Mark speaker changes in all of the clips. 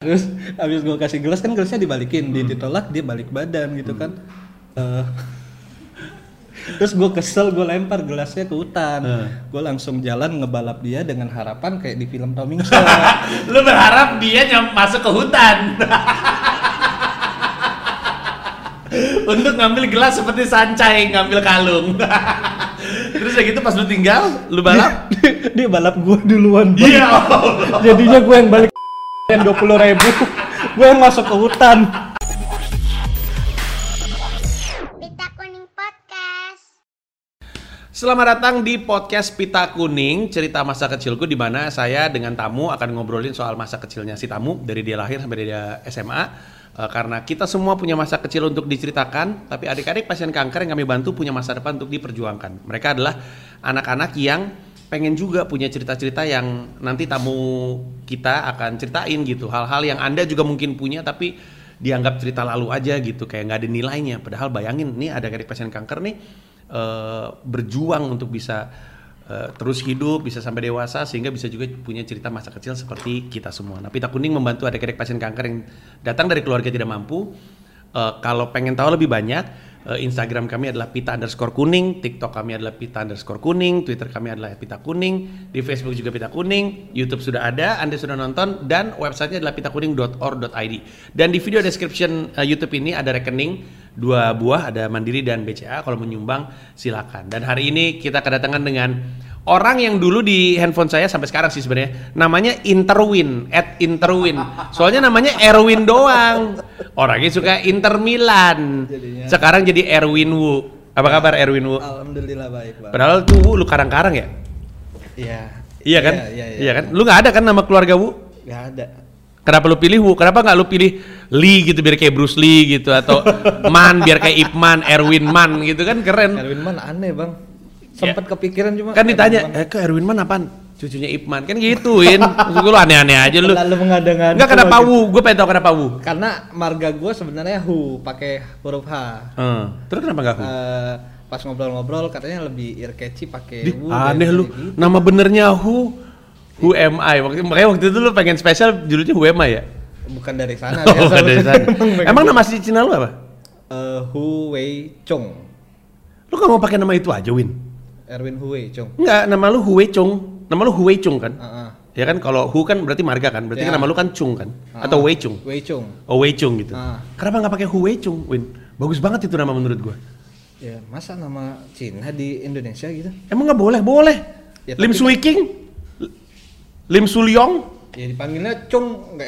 Speaker 1: terus habis gue kasih gelas kan gelasnya dibalikin dia ditolak dia balik badan gitu kan Eh, terus gue kesel gue lempar gelasnya ke hutan gue langsung jalan ngebalap dia dengan harapan kayak di film Tom Hanks
Speaker 2: Lu berharap dia nyam masuk ke hutan. Untuk ngambil gelas seperti sancai ngambil kalung. Terus ya gitu pas lu tinggal, lu balap.
Speaker 1: dia, dia balap gue duluan Bang.
Speaker 2: Iya. Allah.
Speaker 1: jadinya gue yang balik yang dua puluh ribu gue yang masuk ke hutan
Speaker 3: Pita Kuning Podcast.
Speaker 2: Selamat datang di podcast Pita Kuning, cerita masa kecilku di mana saya dengan tamu akan ngobrolin soal masa kecilnya si tamu dari dia lahir sampai dia SMA. Eh, karena kita semua punya masa kecil untuk diceritakan, tapi adik-adik pasien kanker yang kami bantu punya masa depan untuk diperjuangkan. Mereka adalah anak-anak yang pengen juga punya cerita-cerita yang nanti tamu kita akan ceritain gitu. Hal-hal yang Anda juga mungkin punya tapi dianggap cerita lalu aja gitu, kayak nggak ada nilainya. Padahal bayangin nih adik-adik pasien kanker nih eh, berjuang untuk bisa eh, terus hidup, bisa sampai dewasa, sehingga bisa juga punya cerita masa kecil seperti kita semua. Nah, Pita Kuning membantu adik-adik pasien kanker yang datang dari keluarga tidak mampu. Eh, kalau pengen tahu lebih banyak, eh, Instagram kami adalah pita underscore kuning, TikTok kami adalah pita underscore kuning, Twitter kami adalah pita kuning, di Facebook juga pita kuning, YouTube sudah ada, Anda sudah nonton, dan websitenya adalah pitakuning.or.id. Dan di video description eh, YouTube ini ada rekening dua buah ada Mandiri dan BCA kalau menyumbang silakan dan hari ini kita kedatangan dengan orang yang dulu di handphone saya sampai sekarang sih sebenarnya namanya Interwin at Interwin soalnya namanya Erwin doang orangnya suka Inter Milan
Speaker 1: Jadinya. Ah.
Speaker 2: sekarang jadi Erwin Wu apa kabar Erwin Wu
Speaker 1: alhamdulillah baik bang
Speaker 2: padahal tuh Wu lu karang-karang ya
Speaker 1: iya
Speaker 2: iya kan
Speaker 1: iya iya,
Speaker 2: kan lu nggak ada kan nama keluarga Wu
Speaker 1: nggak ada
Speaker 2: Kenapa lu pilih Wu? Kenapa nggak lu pilih Lee gitu biar kayak Bruce Lee gitu atau Man biar kayak Ip Man, Erwin Man gitu kan keren.
Speaker 1: Erwin Man aneh bang sempat kepikiran cuma
Speaker 2: Iya. Kan ditanya, eh ke Erwin Man apaan? Cucunya Ip Man kan gituin. Maksud gua lu aneh-aneh aja "Ya lu.
Speaker 1: lalu mengada-ngada
Speaker 2: Enggak kenapa Wu? Gue pengen tahu kenapa Wu.
Speaker 1: karena marga gue sebenarnya hu pakai huruf h
Speaker 2: Hmm. Terus kenapa nggak Wu?
Speaker 1: Eh, pas ngobrol-ngobrol katanya lebih ear catchy pakai
Speaker 2: Dih,
Speaker 1: ya wu gitu.
Speaker 2: aneh
Speaker 1: daripada
Speaker 2: lu.
Speaker 1: di-
Speaker 2: Nama benernya Hu Who am I? Waktu, makanya waktu itu lu pengen spesial judulnya Who am I ya?
Speaker 1: bukan dari sana Nah,
Speaker 2: Oh,
Speaker 1: biasa.
Speaker 2: nggak dari sana. Emang
Speaker 1: emang
Speaker 2: nama asli Cina lu apa?
Speaker 1: Eh, Hu Wei Chong
Speaker 2: Lu nggak mau pakai nama itu aja, Win?
Speaker 1: Erwin Hu Wei Chong
Speaker 2: Enggak, nama lu Hu Wei Chong. Nama lu Hu Wei Chong kan?
Speaker 1: Ah, ah.
Speaker 2: Ya kan kalau Hu kan berarti marga kan, berarti kan
Speaker 1: Ya.
Speaker 2: nama lu kan Chung kan
Speaker 1: Ah,
Speaker 2: atau
Speaker 1: ah.
Speaker 2: Wei Chung.
Speaker 1: Wei Chong
Speaker 2: Oh Wei Chung gitu.
Speaker 1: Ah.
Speaker 2: Kenapa nggak pakai Hu Wei Chung, Win? Bagus banget itu nama menurut gua.
Speaker 1: ya masa nama Cina di Indonesia gitu
Speaker 2: Emang nggak boleh, boleh.
Speaker 1: Ya,
Speaker 2: Lim
Speaker 1: tapi-
Speaker 2: Sui King, L- Lim Sulyong.
Speaker 1: ya dipanggilnya Chong nggak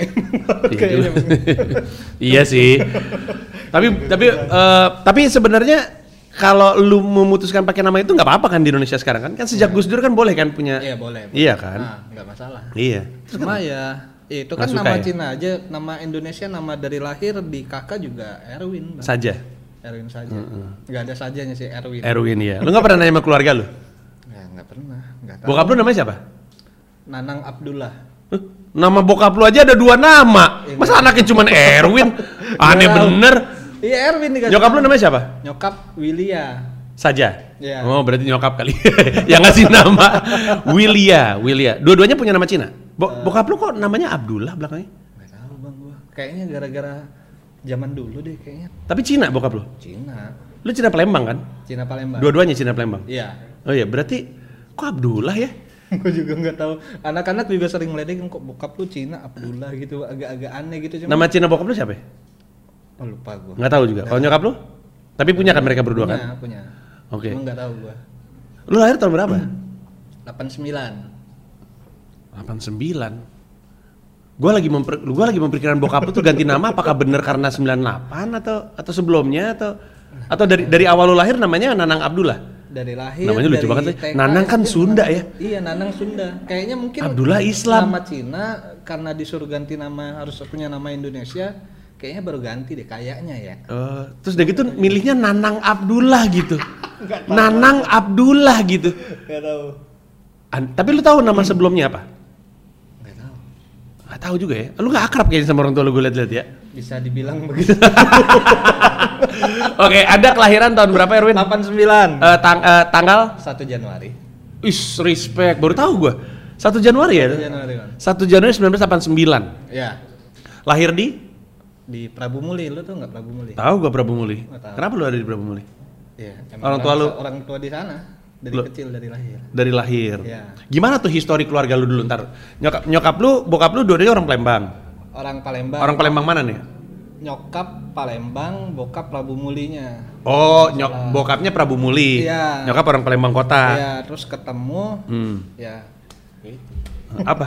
Speaker 2: Iya,
Speaker 1: kayaknya
Speaker 2: iya sih. tapi tapi eh, tapi sebenarnya kalau lu memutuskan pakai nama itu nggak apa-apa kan di Indonesia sekarang kan? Kan sejak Gus Dur kan boleh kan punya.
Speaker 1: Ya. iya boleh
Speaker 2: Iya kan?
Speaker 1: Ah, nggak masalah
Speaker 2: Iya.
Speaker 1: cuma ya ya itu kan
Speaker 2: Nggak suka
Speaker 1: nama
Speaker 2: ya?
Speaker 1: Cina aja nama Indonesia nama dari lahir di kakak juga Erwin Bang.
Speaker 2: Saja.
Speaker 1: Erwin saja nggak ada sajanya sih Erwin
Speaker 2: Erwin ya. Lu nggak pernah nanya sama keluarga lu?
Speaker 1: nggak nggak pernah nggak tahu
Speaker 2: Bokap lu namanya siapa?
Speaker 1: Nanang Abdullah
Speaker 2: Hah? Nama bokap lu aja ada dua nama.
Speaker 1: Iya.
Speaker 2: Masa anaknya cuman Erwin? Aneh
Speaker 1: Nggak tahu.
Speaker 2: bener.
Speaker 1: iya Erwin nih
Speaker 2: Nyokap lu namanya siapa?
Speaker 1: nyokap Wilia
Speaker 2: Saja.
Speaker 1: Iya.
Speaker 2: Oh, berarti nyokap kali. Yang ngasih nama Wilia, Wilia. Dua-duanya punya nama Cina. Bo-
Speaker 1: Eh.
Speaker 2: bokap lu kok namanya Abdullah belakangnya?
Speaker 1: nggak tahu bang gua kayaknya gara-gara zaman dulu deh kayaknya
Speaker 2: Tapi Cina bokap lu.
Speaker 1: Cina
Speaker 2: Lu Cina Palembang kan?
Speaker 1: Cina Palembang
Speaker 2: Dua-duanya Cina Palembang.
Speaker 1: iya
Speaker 2: Oh iya, berarti kok Abdullah ya?
Speaker 1: gua juga nggak tahu anak-anak juga sering ngeledekin kok bokap lu Cina Abdullah gitu agak-agak aneh gitu cuma
Speaker 2: Nama Cina bokap lu siapa ya?
Speaker 1: oh, lupa gua
Speaker 2: Nggak tahu juga. Kalau nyokap lu? Tapi punya kan mereka berdua kan?
Speaker 1: punya punya
Speaker 2: Oke.
Speaker 1: cuma nggak tahu gua
Speaker 2: Lu lahir tahun berapa?
Speaker 1: 89
Speaker 2: 89 Gua lagi memper, gua lagi memperkirakan bokap lu tuh ganti nama apakah bener karena 98 atau atau sebelumnya atau atau dari dari awal lu lahir namanya Nanang Abdullah.
Speaker 1: dari lahir
Speaker 2: Namanya
Speaker 1: dari
Speaker 2: lucu banget sih.
Speaker 1: TK,
Speaker 2: Nanang kan
Speaker 1: SD,
Speaker 2: Sunda
Speaker 1: Nanang-
Speaker 2: ya?
Speaker 1: iya Nanang Sunda kayaknya mungkin
Speaker 2: Abdullah Islam.
Speaker 1: nama Cina karena disuruh ganti nama harus punya nama Indonesia kayaknya baru ganti deh kayaknya ya
Speaker 2: Eh, terus udah gitu milihnya Nanang Abdullah gitu. Nanang Abdullah gitu.
Speaker 1: nggak tahu
Speaker 2: An- tapi lu tahu nama sebelumnya apa?
Speaker 1: nggak tahu
Speaker 2: Gak tahu juga ya. Lu gak akrab kayaknya sama orang tua lu gue liat-liat ya.
Speaker 1: bisa dibilang begitu
Speaker 2: Oke, ada kelahiran tahun berapa Erwin?
Speaker 1: 89
Speaker 2: Eh, tang- eh, tanggal?
Speaker 1: 1 Januari
Speaker 2: Is respect. Baru tahu gua. 1 Januari ya?
Speaker 1: 1 Januari Bang.
Speaker 2: 1 Januari 1989.
Speaker 1: ya
Speaker 2: Lahir di?
Speaker 1: di Prabu Muli lu tuh nggak Prabu Muli
Speaker 2: Tahu gua Prabu Muli.
Speaker 1: Nggak tahu.
Speaker 2: Kenapa lu ada di Prabu Muli?
Speaker 1: Iya, emang
Speaker 2: Orang tua lu?
Speaker 1: orang tua di sana dari
Speaker 2: Lu-
Speaker 1: kecil dari lahir
Speaker 2: Dari lahir.
Speaker 1: Iya.
Speaker 2: Gimana tuh histori keluarga lu dulu ntar? Nyokap, nyokap lu, bokap lu dua-duanya orang Palembang.
Speaker 1: orang Palembang
Speaker 2: Orang Palembang mana nih?
Speaker 1: nyokap Palembang bokap Prabu Mulinya
Speaker 2: Oh, nyok, bokapnya Prabu Muli.
Speaker 1: Iya.
Speaker 2: Nyokap orang Palembang kota.
Speaker 1: Iya, terus ketemu
Speaker 2: Ah. Hmm.
Speaker 1: ya
Speaker 2: Apa?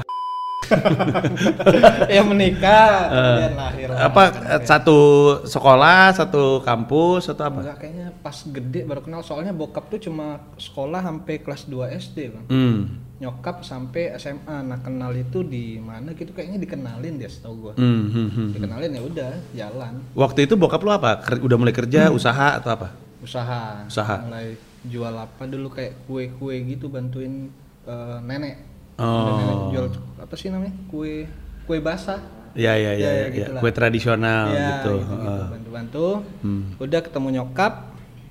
Speaker 1: ya menikah
Speaker 2: Eh,
Speaker 1: kemudian lahir Kan lah.
Speaker 2: apa eh, satu sekolah, satu kampus, atau apa?
Speaker 1: enggak kayaknya pas gede baru kenal soalnya bokap tuh cuma sekolah sampai kelas 2 SD bang
Speaker 2: Hmm.
Speaker 1: nyokap sampai SMA nah kenal itu di mana gitu kayaknya dikenalin dia setahu gua
Speaker 2: Hmm, hmm, hmm.
Speaker 1: dikenalin ya udah jalan
Speaker 2: Waktu itu bokap lu apa? Ker- udah mulai kerja, usaha atau apa?
Speaker 1: usaha
Speaker 2: Usaha.
Speaker 1: mulai jual apa dulu kayak kue-kue gitu bantuin eh, nenek Ada
Speaker 2: Oh.
Speaker 1: nenek jual apa sih namanya kue kue basah
Speaker 2: Ya
Speaker 1: Ya,
Speaker 2: ya ya, ya,
Speaker 1: ya, gitu
Speaker 2: ya.
Speaker 1: lah.
Speaker 2: kue tradisional
Speaker 1: Iya,
Speaker 2: gitu.
Speaker 1: gitu-gitu,
Speaker 2: Heeh.
Speaker 1: bantu-bantu
Speaker 2: Hmm.
Speaker 1: udah ketemu nyokap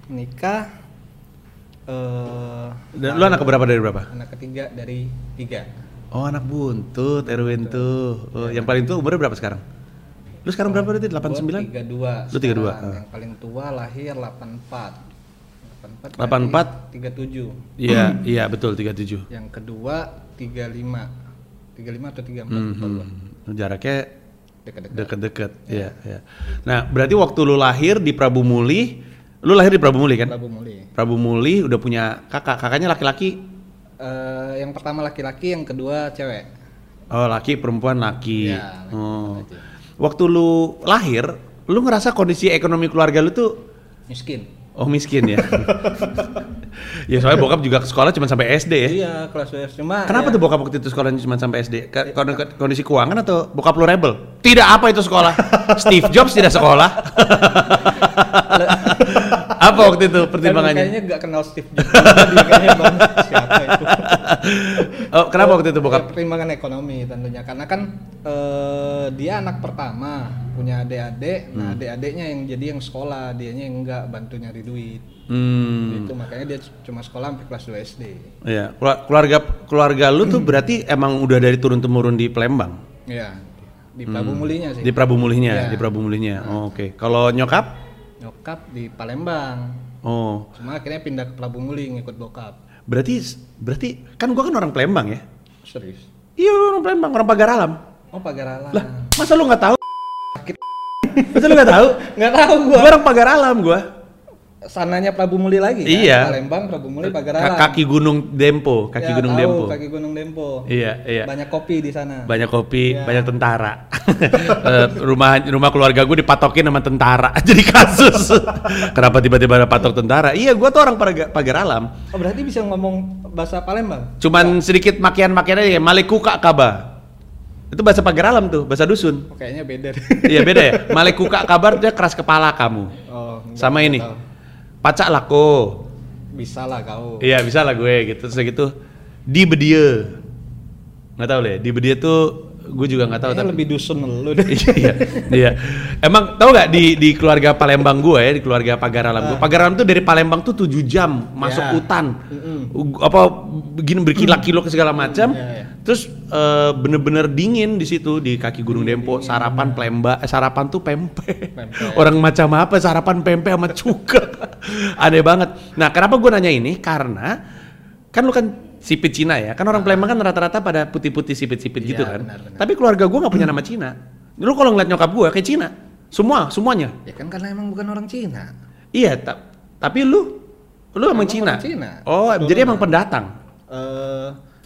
Speaker 1: nikah eh
Speaker 2: Dan lu anak berapa dari berapa?
Speaker 1: anak ketiga dari tiga
Speaker 2: Oh anak buntut, Erwin
Speaker 1: Iya.
Speaker 2: tuh. Oh, yang paling tua umurnya berapa sekarang? Lu sekarang berapa berarti? 89?
Speaker 1: tiga dua
Speaker 2: Lu 32, ah.
Speaker 1: yang paling tua lahir delapan empat
Speaker 2: 84?
Speaker 1: tiga tujuh Hmm.
Speaker 2: Iya, iya betul 37.
Speaker 1: yang kedua tiga lima tiga lima atau tiga empat
Speaker 2: Hmm, hmm. Jaraknya
Speaker 1: dekat-dekat
Speaker 2: deket-deket. Iya, iya. Nah, berarti waktu lu lahir di Prabu Muli, lu lahir di Prabu Muli kan?
Speaker 1: Prabu Muli
Speaker 2: Prabu Muli udah punya kakak, kakaknya laki-laki.
Speaker 1: Eh, yang pertama laki-laki yang kedua cewek
Speaker 2: Oh, laki perempuan laki.
Speaker 1: Iya, laki,
Speaker 2: oh.
Speaker 1: laki.
Speaker 2: Waktu lu lahir, lu ngerasa kondisi ekonomi keluarga lu tuh
Speaker 1: miskin
Speaker 2: oh miskin ya. ya soalnya bokap juga ke sekolah cuma sampai SD ya.
Speaker 1: iya kelas dua cuma ya-
Speaker 2: Kenapa tuh bokap waktu itu sekolahnya cuma sampai SD? Ke- kon- Kondisi keuangan atau bokap lu rebel? Tidak apa itu sekolah. Steve Jobs tidak sekolah. apa waktu itu
Speaker 1: Kan
Speaker 2: pertimbangannya?
Speaker 1: Kayaknya nggak kenal Steve Jobs. Jadi kayaknya bang siapa itu?
Speaker 2: Oh, kenapa waktu itu
Speaker 1: Ya,
Speaker 2: bokap?
Speaker 1: pertimbangan ekonomi tentunya karena kan eh, dia anak pertama punya adik-adik. Nah
Speaker 2: Hmm.
Speaker 1: adik-adiknya yang jadi yang sekolah, dianya yang nggak bantu nyari duit.
Speaker 2: Hmm.
Speaker 1: Itu makanya dia c- cuma sekolah sampai kelas 2 SD.
Speaker 2: Iya, keluar- keluarga keluarga lu
Speaker 1: Hmm.
Speaker 2: tuh berarti emang udah dari turun temurun di Palembang,
Speaker 1: Iya. Di Prabu Mulinya sih.
Speaker 2: Hmm. di Prabu Mulihnya,
Speaker 1: Iya.
Speaker 2: di Prabu Mulihnya. Oh, Oke, kalau nyokap,
Speaker 1: Nyokap di Palembang.
Speaker 2: oh
Speaker 1: Cuma akhirnya pindah ke Prabu Muli ngikut bokap.
Speaker 2: berarti berarti kan gua kan orang Palembang ya?
Speaker 1: Serius.
Speaker 2: Iya orang Palembang, orang Pagaralam.
Speaker 1: Oh Pagaralan.
Speaker 2: Lah, masa lu nggak tahu? masa lu nggak tahu?
Speaker 1: Nggak tahu gua.
Speaker 2: Gua orang Pagaralam gua.
Speaker 1: Sananya Prabu Muli lagi. kan?
Speaker 2: Iya.
Speaker 1: Palembang, Prabu Muli,
Speaker 2: Ka-
Speaker 1: Pagaralan.
Speaker 2: Kaki Gunung Dempo, kaki
Speaker 1: Ya,
Speaker 2: Gunung
Speaker 1: tahu,
Speaker 2: Dempo.
Speaker 1: Kaki Gunung Dempo.
Speaker 2: Iya, iya.
Speaker 1: Banyak Ya. kopi di sana.
Speaker 2: banyak kopi, banyak tentara. Eh, rumah rumah keluarga gue dipatokin sama tentara, jadi kasus. Kenapa tiba-tiba ada patok tentara? Iya, gue tuh orang Paraga- Pagaralam.
Speaker 1: Oh, berarti bisa ngomong bahasa Palembang?
Speaker 2: Cuman sedikit makian-makian aja, Malekuka kaba. Itu bahasa Pagaralam tuh, bahasa dusun.
Speaker 1: Oh, kayaknya beda deh.
Speaker 2: Iya beda ya. Malekuka kabar dia keras kepala kamu.
Speaker 1: Oh, enggak,
Speaker 2: Sama
Speaker 1: enggak
Speaker 2: ini.
Speaker 1: tahu.
Speaker 2: Pacak lako.
Speaker 1: Bisa lah kau.
Speaker 2: Iya bisa lah gue gitu. Terus gitu di bedie. Nggak tahu deh, di bedie tuh gue juga nggak tahu
Speaker 1: Kayaknya
Speaker 2: tapi
Speaker 1: lebih dusun lu deh.
Speaker 2: iya, iya. Emang tau gak di di keluarga Palembang gue ya, di keluarga Pagaralam gue. Pagaralam tuh dari Palembang tuh 7 jam masuk
Speaker 1: Ah. Ya.
Speaker 2: hutan.
Speaker 1: Mm-mm.
Speaker 2: U- Apa begini berkilo-kilo ke segala macam.
Speaker 1: Iya, iya.
Speaker 2: Terus eh, bener-bener dingin di situ di kaki Gunung Dempo. Sarapan plemba, eh, sarapan tuh pempek.
Speaker 1: Pempek.
Speaker 2: Orang macam apa sarapan pempek sama cuka. Aneh banget. Nah, kenapa gue nanya ini? Karena kan lu kan sipit Cina ya. Kan
Speaker 1: Ah.
Speaker 2: orang Palembang kan rata-rata pada putih-putih sipit-sipit
Speaker 1: Iya,
Speaker 2: gitu kan.
Speaker 1: benar, Hmm. benar.
Speaker 2: Tapi keluarga gue nggak punya nama Cina. Lu kalau ngeliat nyokap gue kayak Cina, semua semuanya.
Speaker 1: Ya kan karena emang bukan orang Cina.
Speaker 2: Iya, ta- tapi lu lu
Speaker 1: Emang
Speaker 2: emang Cina.
Speaker 1: orang Cina.
Speaker 2: Oh,
Speaker 1: Keturunan.
Speaker 2: jadi emang pendatang.
Speaker 1: Eh,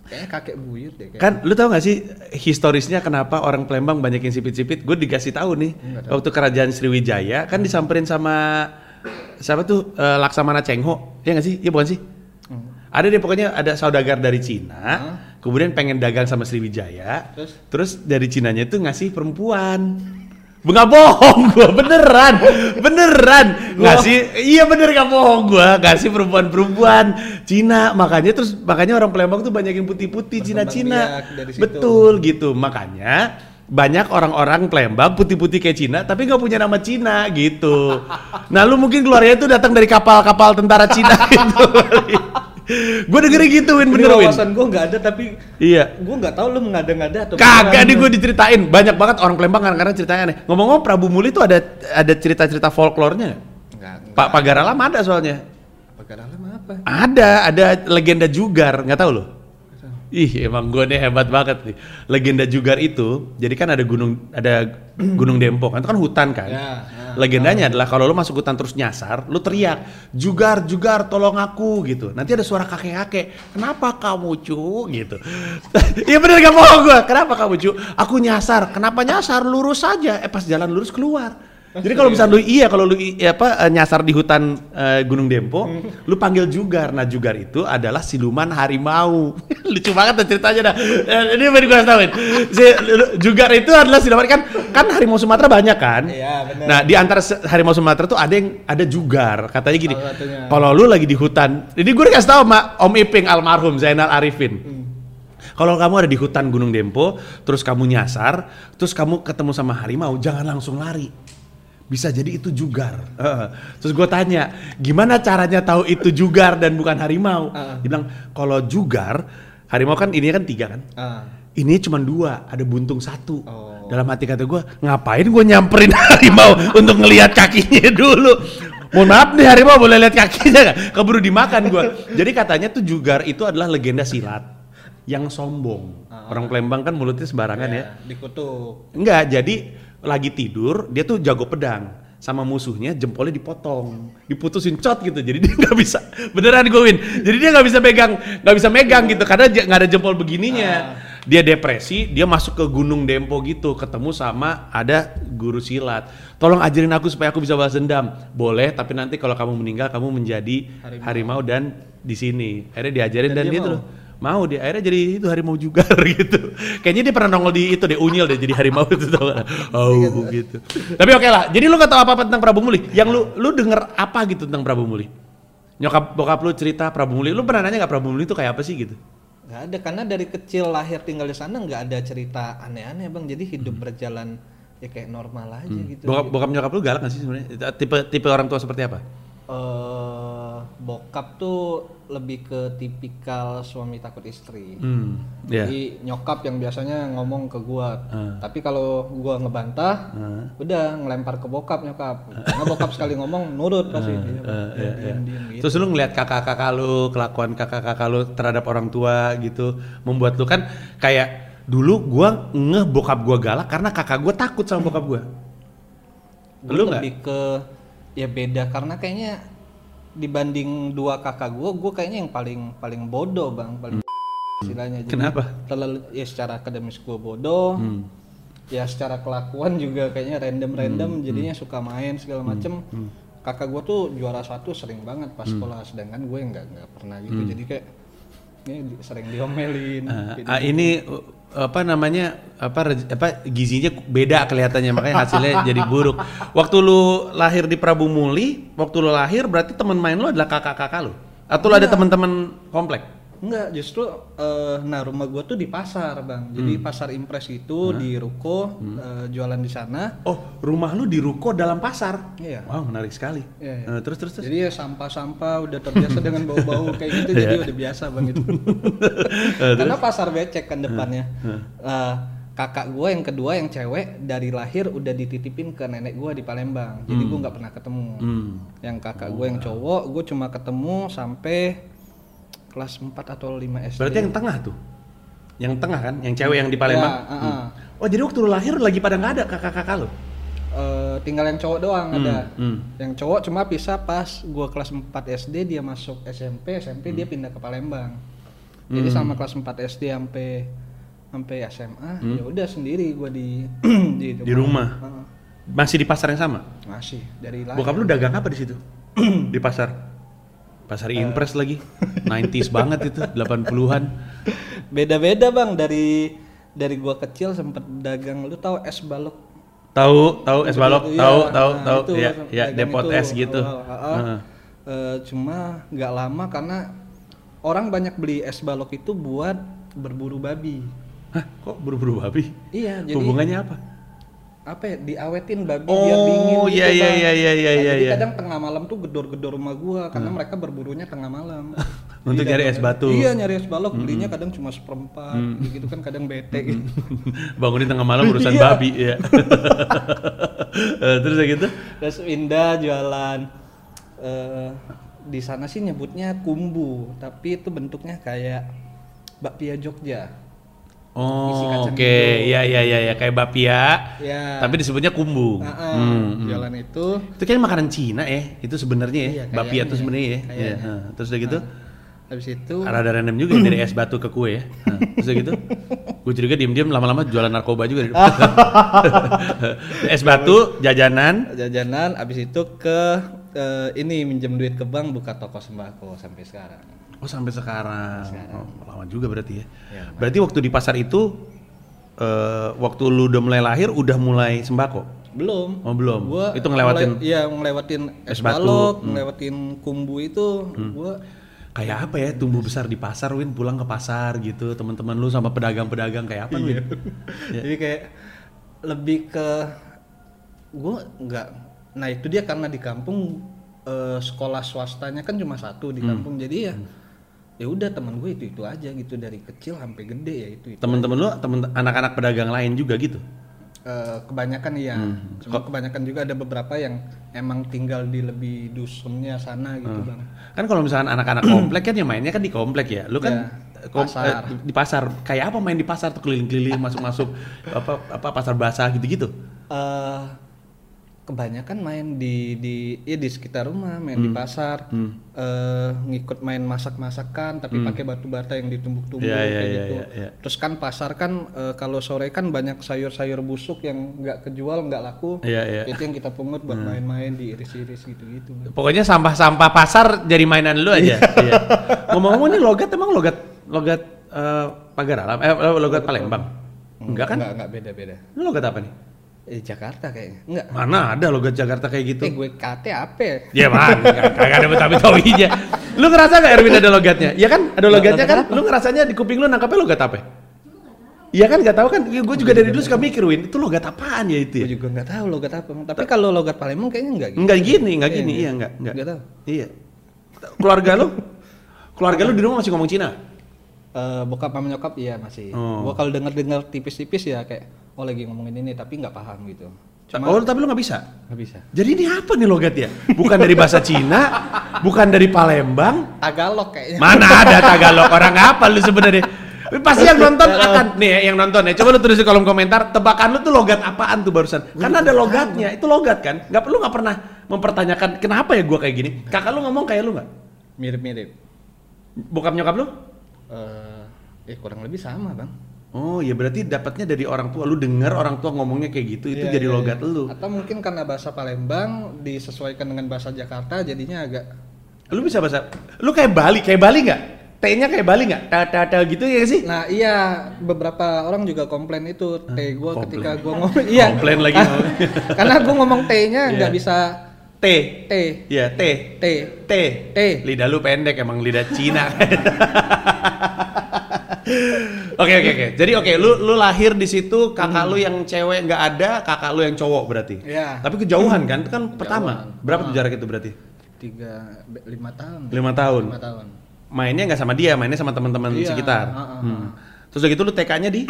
Speaker 1: kayaknya kakek buyut deh kayak. gitu.
Speaker 2: Kan lu tahu gak sih historisnya kenapa orang Palembang banyak yang sipit-sipit? Gue dikasih tahu nih.
Speaker 1: Nggak tahu. Hmm.
Speaker 2: Waktu kerajaan Sriwijaya kan disamperin sama siapa tuh Eh, Laksamana Cheng Ho. Iya gak sih? Iya bukan sih?
Speaker 1: Hmm.
Speaker 2: Ada deh pokoknya ada saudagar dari Cina,
Speaker 1: Hah?
Speaker 2: kemudian pengen dagang sama Sriwijaya.
Speaker 1: Terus?
Speaker 2: Terus dari Cinanya itu ngasih perempuan. Nggak bohong gua, beneran. Beneran. Ngasih iya bener nggak bohong gua, ngasih perempuan-perempuan Cina. Makanya terus makanya orang Palembang tuh banyak yang putih-putih
Speaker 1: Berkembang
Speaker 2: Cina-Cina.
Speaker 1: biak dari situ.
Speaker 2: Betul gitu. Makanya banyak orang-orang Palembang putih-putih kayak Cina tapi nggak punya nama Cina gitu. Nah, lu mungkin keluarnya itu datang dari kapal-kapal tentara Cina gitu. gue dengerin gitu Win,
Speaker 1: Ini
Speaker 2: bener Win.
Speaker 1: wawasan gue nggak ada tapi
Speaker 2: Iya.
Speaker 1: gue nggak tahu lu mengada-ngada atau beneran.
Speaker 2: Kagak nih gue diceritain banyak banget orang Palembang kadang-kadang ceritanya aneh. Ngomong-ngomong Prabu Muli tuh ada ada cerita-cerita folklornya nggak?
Speaker 1: Nggak, nggak.
Speaker 2: Pak Pagar Alam ada soalnya.
Speaker 1: Pagar alam apa?
Speaker 2: Ada, ada legenda Jugar, nggak tahu loh. Ih, emang gue nih hebat banget nih. Legenda Jugar itu, jadi kan ada gunung ada Gunung Dempo kan itu kan hutan kan.
Speaker 1: Ya, ya.
Speaker 2: Legendanya adalah kalau lu masuk hutan terus nyasar, lu teriak, "Jugar, Jugar, tolong aku." gitu. Nanti ada suara kakek-kakek, "Kenapa kamu, Cu?" gitu. Iya bener gak bohong gue. "Kenapa kamu, Cu?" "Aku nyasar." "Kenapa nyasar? Lurus saja." Eh pas jalan lurus keluar. Jadi kalau misalnya lu iya kalau lu i- apa eh, nyasar di hutan eh, Gunung Dempo, lu panggil Jugar. Nah, Jugar itu adalah siluman harimau. Lucu banget tuh ceritanya dah. Eh, Ini baru gua tahuin. Si lu- Jugar itu adalah siluman kan kan harimau Sumatera banyak kan?
Speaker 1: Iya, benar.
Speaker 2: Nah, di antara se- harimau Sumatera tuh ada yang ada Jugar. Katanya gini.
Speaker 1: Salah satunya.
Speaker 2: Kalau lu lagi di hutan, ini gue dikasih tahu sama Om Iping almarhum Zainal Arifin.
Speaker 1: Hmm.
Speaker 2: Kalau kamu ada di hutan Gunung Dempo, terus kamu nyasar, terus kamu ketemu sama harimau, jangan langsung lari. Bisa jadi itu jugar. Heeh. Terus gue tanya, gimana caranya tahu itu jugar dan bukan harimau?
Speaker 1: Heeh.
Speaker 2: Dia bilang, kalau jugar, harimau kan ini kan tiga kan?
Speaker 1: Ah.
Speaker 2: Ini cuma dua, ada buntung satu.
Speaker 1: Oh.
Speaker 2: Dalam hati kata gue, ngapain gue nyamperin harimau untuk ngelihat kakinya dulu. Mohon maaf nih harimau boleh lihat kakinya gak? Keburu dimakan gue. Jadi katanya tuh Jugar itu adalah legenda silat yang sombong.
Speaker 1: Ah.
Speaker 2: Orang Palembang kan mulutnya sembarangan ya.
Speaker 1: Ya, dikutuk.
Speaker 2: Enggak, jadi lagi tidur dia tuh jago pedang sama musuhnya jempolnya dipotong, diputusin cot gitu. Jadi dia nggak bisa beneran gue win. Jadi dia nggak bisa megang, nggak bisa megang gitu karena j- nggak ada jempol begininya. Dia depresi, dia masuk ke Gunung Dempo gitu, ketemu sama ada guru silat. Tolong ajarin aku supaya aku bisa balas dendam. Boleh, tapi nanti kalau kamu meninggal kamu menjadi
Speaker 1: Harimau.
Speaker 2: harimau, dan di sini. Akhirnya diajarin dan,
Speaker 1: Dan dia
Speaker 2: dia, tuh
Speaker 1: mau?
Speaker 2: loh mau dia akhirnya jadi itu harimau juga gitu kayaknya dia pernah nongol di itu deh unyil deh jadi harimau itu tau gak? oh gitu tapi oke lah jadi lu gak tau apa apa tentang Prabu Muli yang lu lu denger apa gitu tentang Prabu Muli nyokap bokap lu cerita Prabu Muli lu pernah nanya gak Prabu Muli itu kayak apa sih gitu
Speaker 1: Nggak ada karena dari kecil lahir tinggal di sana nggak ada cerita aneh-aneh bang jadi hidup
Speaker 2: Hmm.
Speaker 1: berjalan ya kayak normal aja gitu.
Speaker 2: bokap bokap nyokap lu galak gak sih sebenarnya tipe tipe orang tua seperti apa
Speaker 1: Eh, bokap tuh lebih ke tipikal suami takut istri.
Speaker 2: hmm ya
Speaker 1: Jadi nyokap yang biasanya ngomong ke gua,
Speaker 2: Ah.
Speaker 1: tapi kalau gua ngebantah,
Speaker 2: Ah.
Speaker 1: udah ngelempar ke bokap nyokap. Karena bokap sekali ngomong nurut pasti. Iya, Bang.
Speaker 2: Eh,
Speaker 1: Iya,
Speaker 2: iya, iya.
Speaker 1: diem, diem, gitu.
Speaker 2: Terus lu ngeliat kakak-kakak lu, kelakuan kakak-kakak lu terhadap orang tua gitu, membuat lu kan kayak dulu gua ngeh bokap gua galak karena kakak gua takut sama bokap gua.
Speaker 1: Gua
Speaker 2: Lu nggak?
Speaker 1: lebih ke ya beda karena kayaknya dibanding dua kakak gue, gue kayaknya yang paling paling bodoh bang, paling istilahnya. Jadi
Speaker 2: Hmm. Kenapa? Hmm.
Speaker 1: Terlalu ya secara akademis gue bodoh, ya secara kelakuan juga kayaknya
Speaker 2: Hmm,
Speaker 1: random-random, jadinya suka main segala macem. Kakak gue tuh juara satu sering banget pas
Speaker 2: Hmm.
Speaker 1: sekolah, sedangkan gue nggak nggak pernah gitu. Jadi kayak ini di- sering diomelin.
Speaker 2: Eh,
Speaker 1: Jadi-
Speaker 2: ah, ini uh, apa namanya apa rej- apa gizinya beda kelihatannya makanya hasilnya jadi buruk. Waktu lu lahir di Prabu Muli, waktu lu lahir berarti teman main lu adalah kakak-kakak lu. Atau lu ada teman-teman komplek?
Speaker 1: Enggak, justru eh, nah rumah gua tuh di pasar, Bang. Jadi
Speaker 2: Hmm.
Speaker 1: pasar impres itu di ruko eh, jualan di sana.
Speaker 2: Oh, rumah lu di ruko dalam pasar.
Speaker 1: Iya.
Speaker 2: Wow, menarik sekali.
Speaker 1: Iya, iya.
Speaker 2: Eh, terus terus terus.
Speaker 1: Jadi ya sampah-sampah udah terbiasa dengan bau-bau kayak gitu
Speaker 2: Iya.
Speaker 1: jadi udah biasa Bang itu. Karena pasar becek kan depannya. Eh, kakak gua yang kedua yang cewek dari lahir udah dititipin ke nenek gua di Palembang. Jadi
Speaker 2: Hmm.
Speaker 1: gua nggak pernah ketemu. Yang kakak
Speaker 2: Oh,
Speaker 1: gua yang cowok, gua cuma ketemu sampai kelas 4 atau 5 SD.
Speaker 2: Berarti yang tengah tuh. Yang tengah kan, yang cewek yang di Palembang.
Speaker 1: Ya, ah, ah.
Speaker 2: Oh, jadi waktu lu lahir lagi pada nggak ada kakak-kakak lu.
Speaker 1: Eh, tinggal yang cowok doang ada.
Speaker 2: hmm.
Speaker 1: Yang cowok cuma pisah pas gua kelas 4 SD dia masuk SMP, SMP
Speaker 2: Hmm.
Speaker 1: dia pindah ke Palembang. Jadi sama kelas 4 SD sampai sampai SMA ya udah sendiri gua di di rumah.
Speaker 2: Hmm. Di rumah.
Speaker 1: Heeh.
Speaker 2: Masih di pasar yang sama.
Speaker 1: Masih dari lahir.
Speaker 2: Bokap lu dagang apa di situ? di pasar. Pasar
Speaker 1: Eh.
Speaker 2: impres lagi. 90s banget itu, 80-an.
Speaker 1: Beda-beda Bang dari dari gua kecil sempet dagang lu tahu es balok.
Speaker 2: Tahu, tahu es balok,
Speaker 1: Iya,
Speaker 2: tahu, tahu,
Speaker 1: nah,
Speaker 2: tahu.
Speaker 1: itu
Speaker 2: Ya,
Speaker 1: dagang
Speaker 2: ya depot
Speaker 1: itu
Speaker 2: es gitu.
Speaker 1: awal, heeh.
Speaker 2: Heeh.
Speaker 1: Eh, cuma nggak lama karena orang banyak beli es balok itu buat berburu babi.
Speaker 2: Hah, kok buru-buru babi?
Speaker 1: Iya, jadi
Speaker 2: Hubungannya apa?
Speaker 1: apa ya, diawetin babi
Speaker 2: Oh,
Speaker 1: biar dingin gitu
Speaker 2: iya,
Speaker 1: Bang.
Speaker 2: iya, iya, iya,
Speaker 1: Nah,
Speaker 2: iya,
Speaker 1: Jadi
Speaker 2: iya.
Speaker 1: kadang tengah malam tuh gedor-gedor rumah gua karena mereka berburunya tengah malam.
Speaker 2: Untuk
Speaker 1: Tidak
Speaker 2: cari es
Speaker 1: banget.
Speaker 2: batu.
Speaker 1: Iya nyari es balok belinya kadang cuma seperempat gitu kan kadang bete gitu.
Speaker 2: Bangun di tengah malam urusan
Speaker 1: Iya.
Speaker 2: babi ya. Eh, Terus kayak gitu.
Speaker 1: Terus Indah jualan eh, di sana sih nyebutnya kumbu tapi itu bentuknya kayak bakpia Jogja. Isi
Speaker 2: Oh,
Speaker 1: kacang
Speaker 2: oke.
Speaker 1: hijau.
Speaker 2: Ya ya ya ya kayak bapia.
Speaker 1: Ya.
Speaker 2: Tapi disebutnya kumbu.
Speaker 1: Ah, ah,
Speaker 2: Hmm, hmm.
Speaker 1: jualan itu
Speaker 2: Itu kayaknya makanan Cina ya, itu sebenarnya ya.
Speaker 1: Iya, kayaknya
Speaker 2: Bapia itu
Speaker 1: ya.
Speaker 2: sebenarnya ya.
Speaker 1: Kayaknya.
Speaker 2: Iya, heeh. Terus udah gitu,
Speaker 1: Nah, habis itu
Speaker 2: ada random juga dari es batu ke kue ya. Heeh. Terus udah gitu, gue curiga diem-diem lama-lama jualan narkoba juga.
Speaker 1: Iya,
Speaker 2: es batu, jajanan.
Speaker 1: jajanan habis itu ke eh, ini minjem duit ke bank buka toko sembako sampai sekarang.
Speaker 2: Oh sampai sekarang. Oh, lama juga berarti ya.
Speaker 1: Iya, lumayan.
Speaker 2: berarti waktu di pasar itu, eh, waktu lu udah mulai lahir, udah mulai sembako.
Speaker 1: Belum.
Speaker 2: Oh, belum.
Speaker 1: Gua
Speaker 2: Itu ngelewatin-
Speaker 1: mulai- Iya, ngelewatin es
Speaker 2: Es batu. Hmm.
Speaker 1: balok, ngelewatin kumbu itu gua
Speaker 2: Kayak apa ya, tumbuh besar di pasar, Win pulang ke pasar gitu, teman-teman lu sama pedagang-pedagang kayak apa, Win?
Speaker 1: Jadi kayak lebih ke gua nggak nah itu dia karena di kampung eh, sekolah swastanya kan cuma satu di kampung. Jadi ya ya udah teman gue itu-itu aja gitu dari kecil sampai gede ya itu. itu.
Speaker 2: Temen-temen lu, temen anak-anak pedagang lain juga gitu.
Speaker 1: Eh, kebanyakan iya. Cuma kebanyakan juga ada beberapa yang emang tinggal di lebih dusunnya sana gitu, Bang.
Speaker 2: Kan kalau misalkan anak-anak komplek kan yang mainnya kan di komplek ya. Lu kan
Speaker 1: Iya,
Speaker 2: kom-
Speaker 1: pasar.
Speaker 2: eh, di- di pasar. Kayak apa main di pasar tuh keliling-keliling masuk-masuk apa apa pasar basah gitu-gitu.
Speaker 1: eh kebanyakan main di di ya di sekitar rumah, main
Speaker 2: Hmm.
Speaker 1: di pasar, eh, ngikut main masak-masakan tapi pakai batu bata yang ditumbuk-tumbuk
Speaker 2: Hmm. Iya, iya,
Speaker 1: kayak
Speaker 2: iya,
Speaker 1: gitu.
Speaker 2: iya, iya.
Speaker 1: Terus kan pasar kan eh, kalau sore kan banyak sayur-sayur busuk yang nggak kejual, nggak laku.
Speaker 2: Iya, iya. Nah.
Speaker 1: Itu yang kita pungut buat main-main diiris-iris gitu-gitu.
Speaker 2: Pokoknya sampah-sampah pasar jadi mainan lu aja. Iya. Ngomong-ngomong ini logat emang logat logat eh, pagar alam eh logat Palembang. Enggak kan?
Speaker 1: Nggak, nggak beda-beda.
Speaker 2: Ini logat apa nih?
Speaker 1: Eh, Jakarta kayaknya. Enggak.
Speaker 2: Mana ada logat Jakarta kayak gitu?
Speaker 1: Eh, gue KT apa? ya?
Speaker 2: Ya man, kagak ada betawi-betawinya. Lu ngerasa nggak Erwin ada logatnya? Iya kan? Ada logatnya kan? Lu ngerasanya di kuping lu nangkapnya logat apa? Iya kan nggak tahu kan? Gue juga dari dulu suka mikir Win, itu logat apaan ya itu ya?
Speaker 1: Gue juga nggak tahu logat apa. Tapi kalau logat Palembang kayaknya enggak gitu.
Speaker 2: Enggak gini, enggak gini, iya enggak, enggak.
Speaker 1: Nggak tahu.
Speaker 2: Iya. Keluarga lu? Keluarga lu di rumah masih ngomong Cina?
Speaker 1: Eh, bokap sama nyokap iya masih.
Speaker 2: Oh.
Speaker 1: Gua kalau denger-denger tipis-tipis ya kayak oh lagi ngomongin ini tapi nggak paham gitu. Cuma
Speaker 2: Oh, tapi lu nggak bisa.
Speaker 1: nggak bisa.
Speaker 2: Jadi ini apa nih logatnya? Bukan dari bahasa Cina, bukan dari Palembang,
Speaker 1: Tagalog kayaknya.
Speaker 2: Mana ada Tagalog orang apa lu sebenarnya? Pasti yang nonton akan nih ya, yang nonton ya. Coba lu tulis di kolom komentar tebakan lu tuh logat apaan tuh barusan. Karena ada logatnya, itu logat kan. Nggak perlu nggak pernah mempertanyakan kenapa ya gua kayak gini. Kakak lu ngomong kayak lu nggak?
Speaker 1: Mirip-mirip.
Speaker 2: Bokap nyokap lu?
Speaker 1: Eh, eh kurang lebih sama, Bang.
Speaker 2: Oh ya berarti dapatnya dari orang tua. Lu denger orang tua ngomongnya kayak gitu, itu
Speaker 1: Iya,
Speaker 2: jadi
Speaker 1: iya,
Speaker 2: logat
Speaker 1: iya.
Speaker 2: lu.
Speaker 1: Atau mungkin karena bahasa Palembang disesuaikan dengan bahasa Jakarta jadinya agak
Speaker 2: Lu bisa bahasa. Lu kayak Bali, kayak Bali nggak? T-nya kayak Bali nggak? Ta ta ta gitu ya sih?
Speaker 1: Nah, iya, beberapa orang juga komplain itu T gua
Speaker 2: komplain.
Speaker 1: ketika gua ngomong iya.
Speaker 2: Komplain lagi.
Speaker 1: karena gua ngomong T-nya nggak
Speaker 2: Iya.
Speaker 1: bisa
Speaker 2: T.
Speaker 1: T.
Speaker 2: Ya, T.
Speaker 1: T.
Speaker 2: T.
Speaker 1: T.
Speaker 2: Lidah lu pendek emang lidah Cina. Oke oke oke. Jadi oke lu lu lahir di situ kakak lu yang cewek nggak ada, kakak lu yang cowok berarti.
Speaker 1: Hmm. Iya.
Speaker 2: Tapi kejauhan kan? Itu kan pertama. Berapa tuh jarak itu berarti?
Speaker 1: tiga be- lima tahun
Speaker 2: Lima tahun.
Speaker 1: lima tahun
Speaker 2: Mainnya nggak sama dia, mainnya sama teman-teman
Speaker 1: Iya,
Speaker 2: sekitar.
Speaker 1: heeh.
Speaker 2: Hmm. Terus udah gitu lu TK-nya di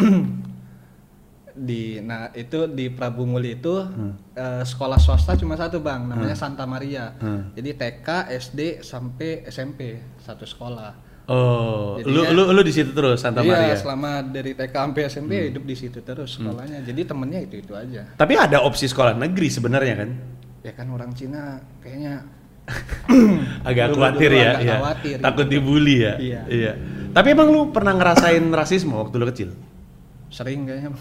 Speaker 1: di nah itu di Prabu Muli itu
Speaker 2: Hmm.
Speaker 1: eh, sekolah swasta cuma satu bang namanya Santa Maria
Speaker 2: Hmm.
Speaker 1: jadi TK SD sampai SMP satu sekolah
Speaker 2: Oh, lu
Speaker 1: Jadinya-
Speaker 2: lu lu di situ terus Santa
Speaker 1: iya
Speaker 2: Maria. Hmm.
Speaker 1: selama dari TK sampai SMP ya hidup di situ terus sekolahnya jadi temennya itu itu aja
Speaker 2: Tapi ada opsi sekolah negeri sebenarnya kan?
Speaker 1: ya kan orang Cina kayaknya
Speaker 2: agak
Speaker 1: Dulu-dulu
Speaker 2: khawatir ya,
Speaker 1: agak
Speaker 2: iya.
Speaker 1: khawatir.
Speaker 2: takut dibully ya.
Speaker 1: Iya.
Speaker 2: Tapi emang lu pernah ngerasain rasisme waktu lu kecil?
Speaker 1: sering kayaknya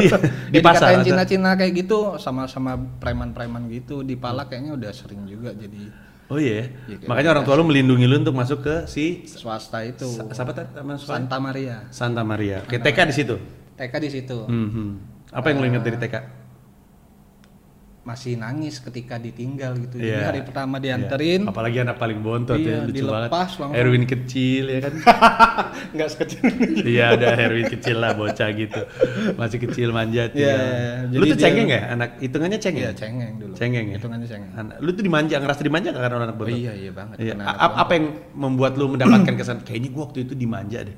Speaker 2: iya, di
Speaker 1: Jadi
Speaker 2: pasar.
Speaker 1: katain
Speaker 2: atau-
Speaker 1: Cina-Cina kayak gitu sama-sama preman-preman gitu di pala kayaknya udah sering juga jadi
Speaker 2: Oh iya.
Speaker 1: Iya, kayak
Speaker 2: Makanya orang tua lu melindungi lu untuk masuk ke si
Speaker 1: swasta itu
Speaker 2: Sa- siapa tadi nama sekolah?
Speaker 1: Santa Maria
Speaker 2: Santa Maria. Oke, TK di situ.
Speaker 1: TK di situ.
Speaker 2: Mhm. Apa yang lu ingat dari TK?
Speaker 1: masih nangis ketika ditinggal gitu. Jadi
Speaker 2: Iya.
Speaker 1: hari pertama
Speaker 2: Iya.
Speaker 1: dianterin
Speaker 2: Apalagi anak paling bontot
Speaker 1: Iya,
Speaker 2: ya, lucu
Speaker 1: dilepas
Speaker 2: banget.
Speaker 1: langsung.
Speaker 2: Erwin kecil ya kan.
Speaker 1: nggak sekecil ini.
Speaker 2: Iya, ada Erwin kecil lah bocah gitu. Masih kecil manjat.
Speaker 1: Iya,
Speaker 2: ya.
Speaker 1: iya.
Speaker 2: Lu
Speaker 1: Jadi
Speaker 2: tuh
Speaker 1: dia-
Speaker 2: cengeng ya anak hitungannya cengeng.
Speaker 1: Iya, cengeng dulu.
Speaker 2: Cengeng ya?
Speaker 1: Hitungannya cengeng.
Speaker 2: Anak- Lu tuh dimanja, ngerasa dimanja gak karena anak
Speaker 1: Oh
Speaker 2: bontot?
Speaker 1: iya iya banget.
Speaker 2: Iya.
Speaker 1: Karena
Speaker 2: A- ap- Apa yang membuat lu mendapatkan kesan kayaknya gua waktu itu dimanja deh.
Speaker 1: Eh.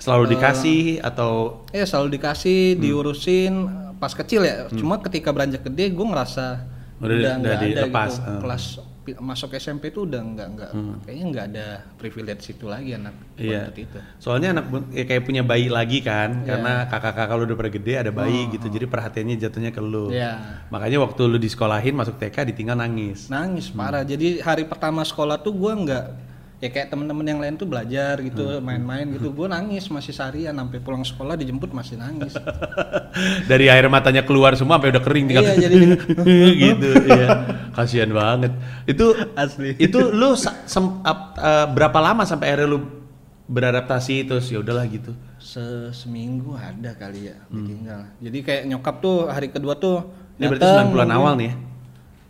Speaker 2: Selalu dikasih atau
Speaker 1: Ya selalu
Speaker 2: Hmm.
Speaker 1: dikasih, diurusin pas kecil ya. Cuma ketika beranjak gede gue ngerasa
Speaker 2: Udah- udah
Speaker 1: nggak
Speaker 2: dilepas,
Speaker 1: gitu.
Speaker 2: eh. Hmm.
Speaker 1: Kelas pi- masuk SMP tuh udah nggak nggak kayaknya nggak ada privilege itu lagi anak
Speaker 2: Iya.
Speaker 1: bontot itu.
Speaker 2: Soalnya anak bun- ya kayak punya bayi lagi kan,
Speaker 1: Iya.
Speaker 2: karena kakak-kakak lu udah pada gede ada bayi gitu, jadi perhatiannya jatuhnya ke
Speaker 1: Oh,
Speaker 2: lu.
Speaker 1: Iya.
Speaker 2: Makanya waktu lu disekolahin masuk TK ditinggal nangis.
Speaker 1: Nangis
Speaker 2: Hmm.
Speaker 1: parah. Jadi hari pertama sekolah tuh gue nggak ya kayak temen-temen yang lain tuh belajar gitu
Speaker 2: Hmm.
Speaker 1: main-main gitu gue nangis masih seharian sampai pulang sekolah dijemput masih nangis
Speaker 2: Dari air matanya keluar semua sampai udah kering tinggal
Speaker 1: Iya, jadi-
Speaker 2: gitu. Iya. Kasihan banget. Itu
Speaker 1: Asli.
Speaker 2: Itu lu sa- sem- ap- eh, berapa lama sampai akhirnya lu beradaptasi terus ya udahlah gitu.
Speaker 1: Se- seminggu ada kali ya ditinggal jadi kayak nyokap tuh hari kedua tuh
Speaker 2: Hmm. Ini berarti
Speaker 1: dateng,
Speaker 2: 90-an
Speaker 1: nungguin.
Speaker 2: awal nih ya.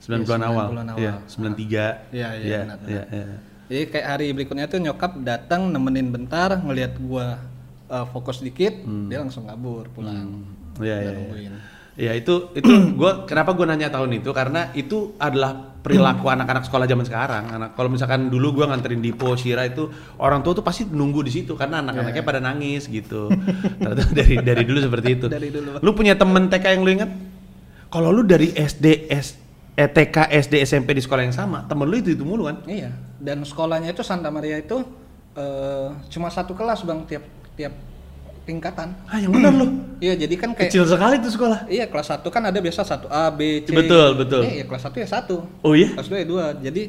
Speaker 2: 90-an awal.
Speaker 1: 90-an awal.
Speaker 2: Iya, 93.
Speaker 1: Iya, iya, benar,
Speaker 2: iya, iya.
Speaker 1: Jadi kayak hari berikutnya tuh nyokap datang nemenin bentar, ngelihat gua eh, fokus dikit,
Speaker 2: Hmm.
Speaker 1: dia langsung kabur pulang.
Speaker 2: Iya,
Speaker 1: Udah
Speaker 2: iya, iya.
Speaker 1: nungguin.
Speaker 2: Ya itu itu gua kenapa gua nanya tahun itu karena itu adalah perilaku anak-anak sekolah zaman sekarang. Anak kalau misalkan dulu gua nganterin Dipo Shira itu orang tua tuh pasti nunggu di situ karena
Speaker 1: Iya,
Speaker 2: anak-anaknya pada nangis gitu. Ternyata dari dari dulu seperti itu.
Speaker 1: Dari dulu.
Speaker 2: Lu punya temen TK yang lu inget? Kalau lu dari SD S eh, TK SD SMP di sekolah yang sama, temen lu itu itu mulu kan?
Speaker 1: Iya. Dan sekolahnya itu Santa Maria itu eh, cuma satu kelas bang tiap tiap tingkatan.
Speaker 2: Ah yang benar lu.
Speaker 1: Iya jadi kan kayak
Speaker 2: Kecil sekali tuh sekolah.
Speaker 1: iya kelas 1 kan ada biasa 1 A B C.
Speaker 2: Betul, betul.
Speaker 1: Iya, iya, kelas 1 ya 1.
Speaker 2: Oh iya.
Speaker 1: Kelas 2 ya 2. Jadi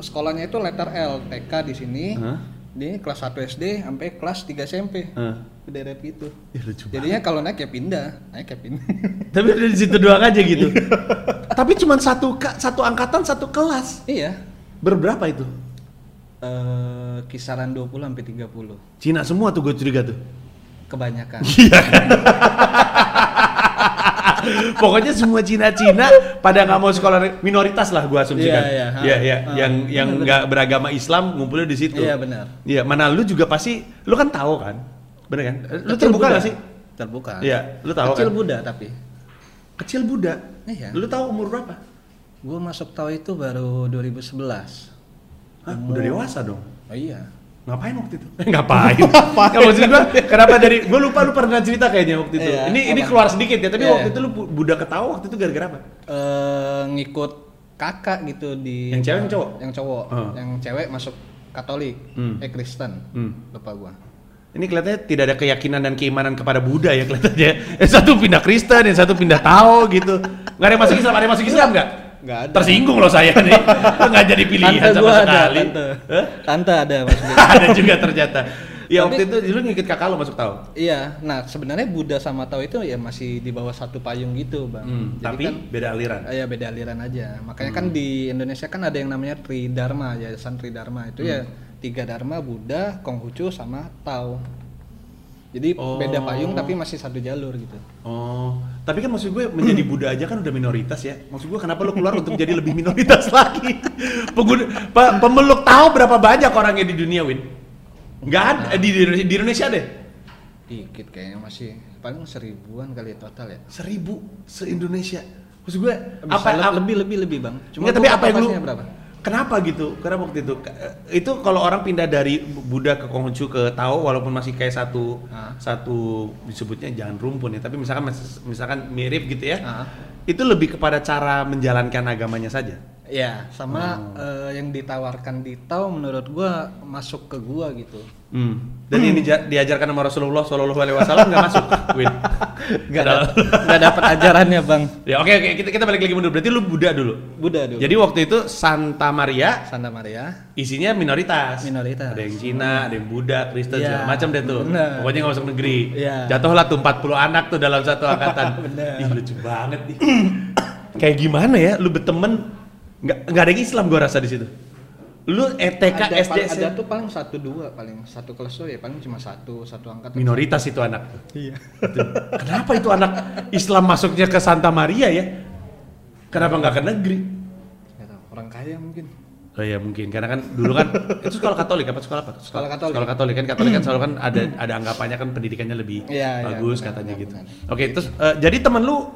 Speaker 1: sekolahnya itu letter L, TK di sini.
Speaker 2: Hah?
Speaker 1: Di kelas 1 SD sampai kelas 3 SMP.
Speaker 2: Hah.
Speaker 1: Berderet gitu.
Speaker 2: Ih, lucu banget.
Speaker 1: Jadinya kalau naik ya pindah, naik ya pindah.
Speaker 2: Tapi udah di situ doang aja gitu. Tapi cuma satu ka- satu angkatan satu kelas.
Speaker 1: iya.
Speaker 2: Berberapa itu?
Speaker 1: Eh kisaran 20 sampai 30.
Speaker 2: Cina semua tuh gue curiga tuh.
Speaker 1: Kebanyakan.
Speaker 2: Pokoknya semua Cina-Cina pada nggak mau sekolah minoritas lah gue asumsikan.
Speaker 1: Iya, iya.
Speaker 2: Iya, iya.
Speaker 1: Ah,
Speaker 2: Yang yang nggak beragama Islam ngumpulnya di situ.
Speaker 1: Iya, benar.
Speaker 2: Iya, mana lu juga pasti lu kan tahu kan? Bener kan? Lu
Speaker 1: Kecil
Speaker 2: terbuka
Speaker 1: Buddha.
Speaker 2: nggak sih?
Speaker 1: Terbuka.
Speaker 2: Iya, lu tahu
Speaker 1: Kecil
Speaker 2: kan?
Speaker 1: Buddha tapi.
Speaker 2: Kecil Buddha.
Speaker 1: Iya.
Speaker 2: Lu tahu umur berapa?
Speaker 1: Gue masuk tahu itu baru 2011.
Speaker 2: Hah, udah dewasa dong.
Speaker 1: Oh iya.
Speaker 2: Ngapain waktu itu? Ngapain? Nggak, maksud gua, kenapa dari gua lupa lu pernah cerita kayaknya waktu itu.
Speaker 1: Iya,
Speaker 2: ini ini
Speaker 1: apa?
Speaker 2: keluar sedikit ya, tapi
Speaker 1: Iya,
Speaker 2: waktu
Speaker 1: iya.
Speaker 2: itu lu bu- budak ketawa waktu itu gara-gara apa?
Speaker 1: eh ngikut kakak gitu di
Speaker 2: Yang cewek, yang cowok?
Speaker 1: yang cowok
Speaker 2: Heeh.
Speaker 1: yang cewek masuk Katolik
Speaker 2: Hmm.
Speaker 1: eh Kristen
Speaker 2: Hmm.
Speaker 1: lupa gua
Speaker 2: Ini kelihatannya tidak ada keyakinan dan keimanan kepada Buddha ya kelihatannya. Yang satu pindah Kristen, yang satu pindah Tao gitu. Nggak ada yang masuk Islam, ada yang masuk Islam nggak?
Speaker 1: nggak ada
Speaker 2: Tersinggung loh saya nih. Lu Nggak jadi pilihan
Speaker 1: tante
Speaker 2: sama
Speaker 1: gua ada
Speaker 2: sekali.
Speaker 1: tante
Speaker 2: Hah?
Speaker 1: tante ada maksudnya
Speaker 2: ada juga ternyata. Ya
Speaker 1: Tapi-
Speaker 2: waktu itu lu ngikut kakak lu masuk Tao.
Speaker 1: iya nah sebenarnya Buddha sama Tao itu ya masih di bawah satu payung gitu bang Jadi
Speaker 2: Hmm, tapi
Speaker 1: kan,
Speaker 2: beda aliran.
Speaker 1: eh, ya beda aliran aja makanya kan di Indonesia kan ada yang namanya Tridharma yayasan Tridharma itu ya tiga dharma Buddha Konghucu sama Tao jadi
Speaker 2: Oh.
Speaker 1: beda payung tapi masih satu jalur gitu
Speaker 2: Oh, tapi kan maksud gue menjadi Buddha aja kan udah minoritas ya. Maksud gue kenapa lo keluar untuk jadi lebih minoritas lagi? Pengguna, pe- pemeluk tahu berapa banyak orangnya di dunia, Win? Nggak ada di, di Indonesia, di Indonesia deh.
Speaker 1: Dikit kayaknya masih paling seribuan kali total ya.
Speaker 2: Seribu se Indonesia. Maksud gue
Speaker 1: Bisa
Speaker 2: apa,
Speaker 1: le-
Speaker 2: apa
Speaker 1: lebih lebih lebih bang.
Speaker 2: Nggak, tapi
Speaker 1: gua
Speaker 2: apa yang lu
Speaker 1: kapasitasnya berapa?
Speaker 2: Kenapa gitu? Karena waktu itu eh, itu kalau orang pindah dari Buddha ke Konghucu ke Tao walaupun masih kayak satu
Speaker 1: Ah.
Speaker 2: satu disebutnya jangan rumpun ya, tapi misalkan mas- misalkan mirip gitu ya.
Speaker 1: Ah.
Speaker 2: Itu lebih kepada cara menjalankan agamanya saja.
Speaker 1: Ya sama eh, yang ditawarkan di Tao menurut gua masuk ke gua gitu.
Speaker 2: Hmm. Dan ini ja- diajarkan sama Rasulullah Shallallahu Alaihi Wasallam nggak masuk, Win.
Speaker 1: Gak
Speaker 2: Padahal-
Speaker 1: dapet, nggak dapet ajarannya bang.
Speaker 2: Ya oke oke kita kita balik lagi mundur. Berarti lu Buddha dulu.
Speaker 1: Buddha dulu.
Speaker 2: Jadi waktu itu Santa Maria
Speaker 1: Santa Maria.
Speaker 2: isinya minoritas.
Speaker 1: Minoritas.
Speaker 2: Ada yang Cina, ada yang Buddha, Kristen,
Speaker 1: Iya,
Speaker 2: segala macam deh tuh.
Speaker 1: bener.
Speaker 2: Pokoknya nggak masuk negeri.
Speaker 1: Iya.
Speaker 2: Jatuhlah tuh 40 anak tuh dalam satu angkatan.
Speaker 1: Bener.
Speaker 2: Ih lucu banget nih. Kayak gimana ya lu berteman nggak nggak ada yang Islam gua rasa di situ. Lu E ETK
Speaker 1: ada,
Speaker 2: SD
Speaker 1: pal- ada
Speaker 2: SMP.
Speaker 1: tuh paling satu dua paling satu kelas tuh ya paling cuma satu satu angkatan.
Speaker 2: minoritas itu anak tuh.
Speaker 1: Iya.
Speaker 2: Kenapa itu anak Islam masuknya ke Santa Maria ya? Kenapa nggak ke negeri?
Speaker 1: Nggak tahu, orang kaya mungkin.
Speaker 2: Oh iya mungkin karena kan dulu kan itu sekolah Katolik apa sekolah apa?
Speaker 1: Sekolah Katolik.
Speaker 2: Sekolah Katolik kan Katolik kan selalu kan ada ada anggapannya kan pendidikannya lebih
Speaker 1: Iya, iya,
Speaker 2: bagus
Speaker 1: benar,
Speaker 2: katanya
Speaker 1: benar,
Speaker 2: gitu.
Speaker 1: benar.
Speaker 2: Oke, terus eh, jadi temen lu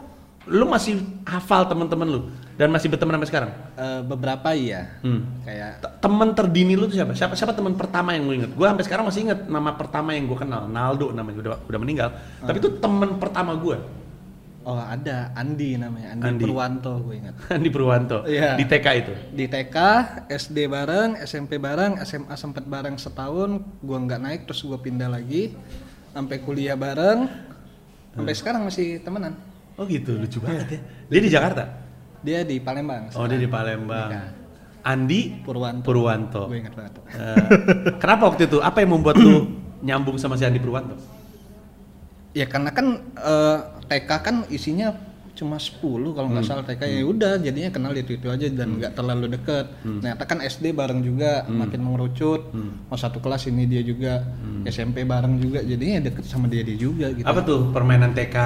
Speaker 2: lu masih hafal temen-temen lu dan masih berteman sampai sekarang.
Speaker 1: Eh, beberapa iya.
Speaker 2: Hmm.
Speaker 1: Kayak
Speaker 2: T- Temen terdini lu tuh siapa? Siapa siapa teman pertama yang lu inget? Gua sampai sekarang masih inget nama pertama yang gua kenal, Naldo namanya udah udah meninggal.
Speaker 1: Ah.
Speaker 2: Tapi itu temen pertama gua,
Speaker 1: oh ada Andi namanya, Andi,
Speaker 2: Andi.
Speaker 1: Purwanto gue ingat.
Speaker 2: Andi Purwanto
Speaker 1: Iya.
Speaker 2: di TK itu.
Speaker 1: Di TK, SD bareng, SMP bareng, SMA sempet bareng setahun, gua nggak naik terus gua pindah lagi, sampai kuliah bareng, sampai sekarang masih temenan.
Speaker 2: Oh gitu, lucu banget ya. Dia di Jakarta.
Speaker 1: Dia di Palembang.
Speaker 2: Oh, dia di Palembang.
Speaker 1: Iya.
Speaker 2: Andi
Speaker 1: Purwanto.
Speaker 2: Purwanto.
Speaker 1: Gue ingat banget.
Speaker 2: Eh, kenapa waktu itu? Apa yang membuat lu nyambung sama si Andi Purwanto?
Speaker 1: Ya karena kan eh, TK kan isinya cuma 10 kalau nggak
Speaker 2: Hmm.
Speaker 1: salah TK ya udah jadinya kenal itu itu aja dan nggak terlalu deket.
Speaker 2: Hmm.
Speaker 1: Ternyata kan SD bareng juga makin mengerucut. Mau satu kelas ini dia juga SMP bareng juga jadinya deket sama dia dia juga gitu.
Speaker 2: Hmm. Apa tuh permainan TK?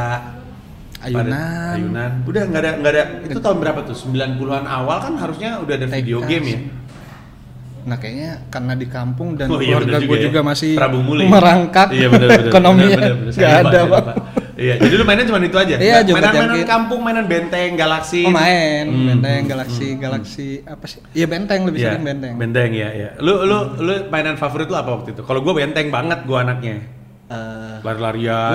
Speaker 1: Ayunan.
Speaker 2: Pada- Ayunan. Udah nggak ada nggak ada. Itu tahun berapa tuh? 90-an awal kan harusnya udah ada
Speaker 1: TK.
Speaker 2: video game ya.
Speaker 1: Nah kayaknya karena di kampung dan
Speaker 2: Oh iya,
Speaker 1: keluarga
Speaker 2: bener
Speaker 1: gue
Speaker 2: ya.
Speaker 1: juga masih
Speaker 2: Prabu Muli.
Speaker 1: merangkak
Speaker 2: Iya benar benar.
Speaker 1: ekonominya
Speaker 2: Benar, benar, benar.
Speaker 1: nggak
Speaker 2: Saya lupa,
Speaker 1: ada
Speaker 2: saya
Speaker 1: Bang.
Speaker 2: lupa. Iya, jadi lu mainnya cuma itu aja.
Speaker 1: Iya,
Speaker 2: Nggak-
Speaker 1: joget
Speaker 2: Mainan-mainan
Speaker 1: jangkit.
Speaker 2: kampung, mainan benteng, galaksi.
Speaker 1: Oh main,
Speaker 2: Hmm.
Speaker 1: benteng, galaksi, galaksi apa sih? Iya benteng lebih
Speaker 2: Iya,
Speaker 1: sering benteng.
Speaker 2: Benteng ya, ya. Lu lu lu mainan favorit lu apa waktu itu? Kalau gua benteng banget gua anaknya.
Speaker 1: Eh,
Speaker 2: Lari-larian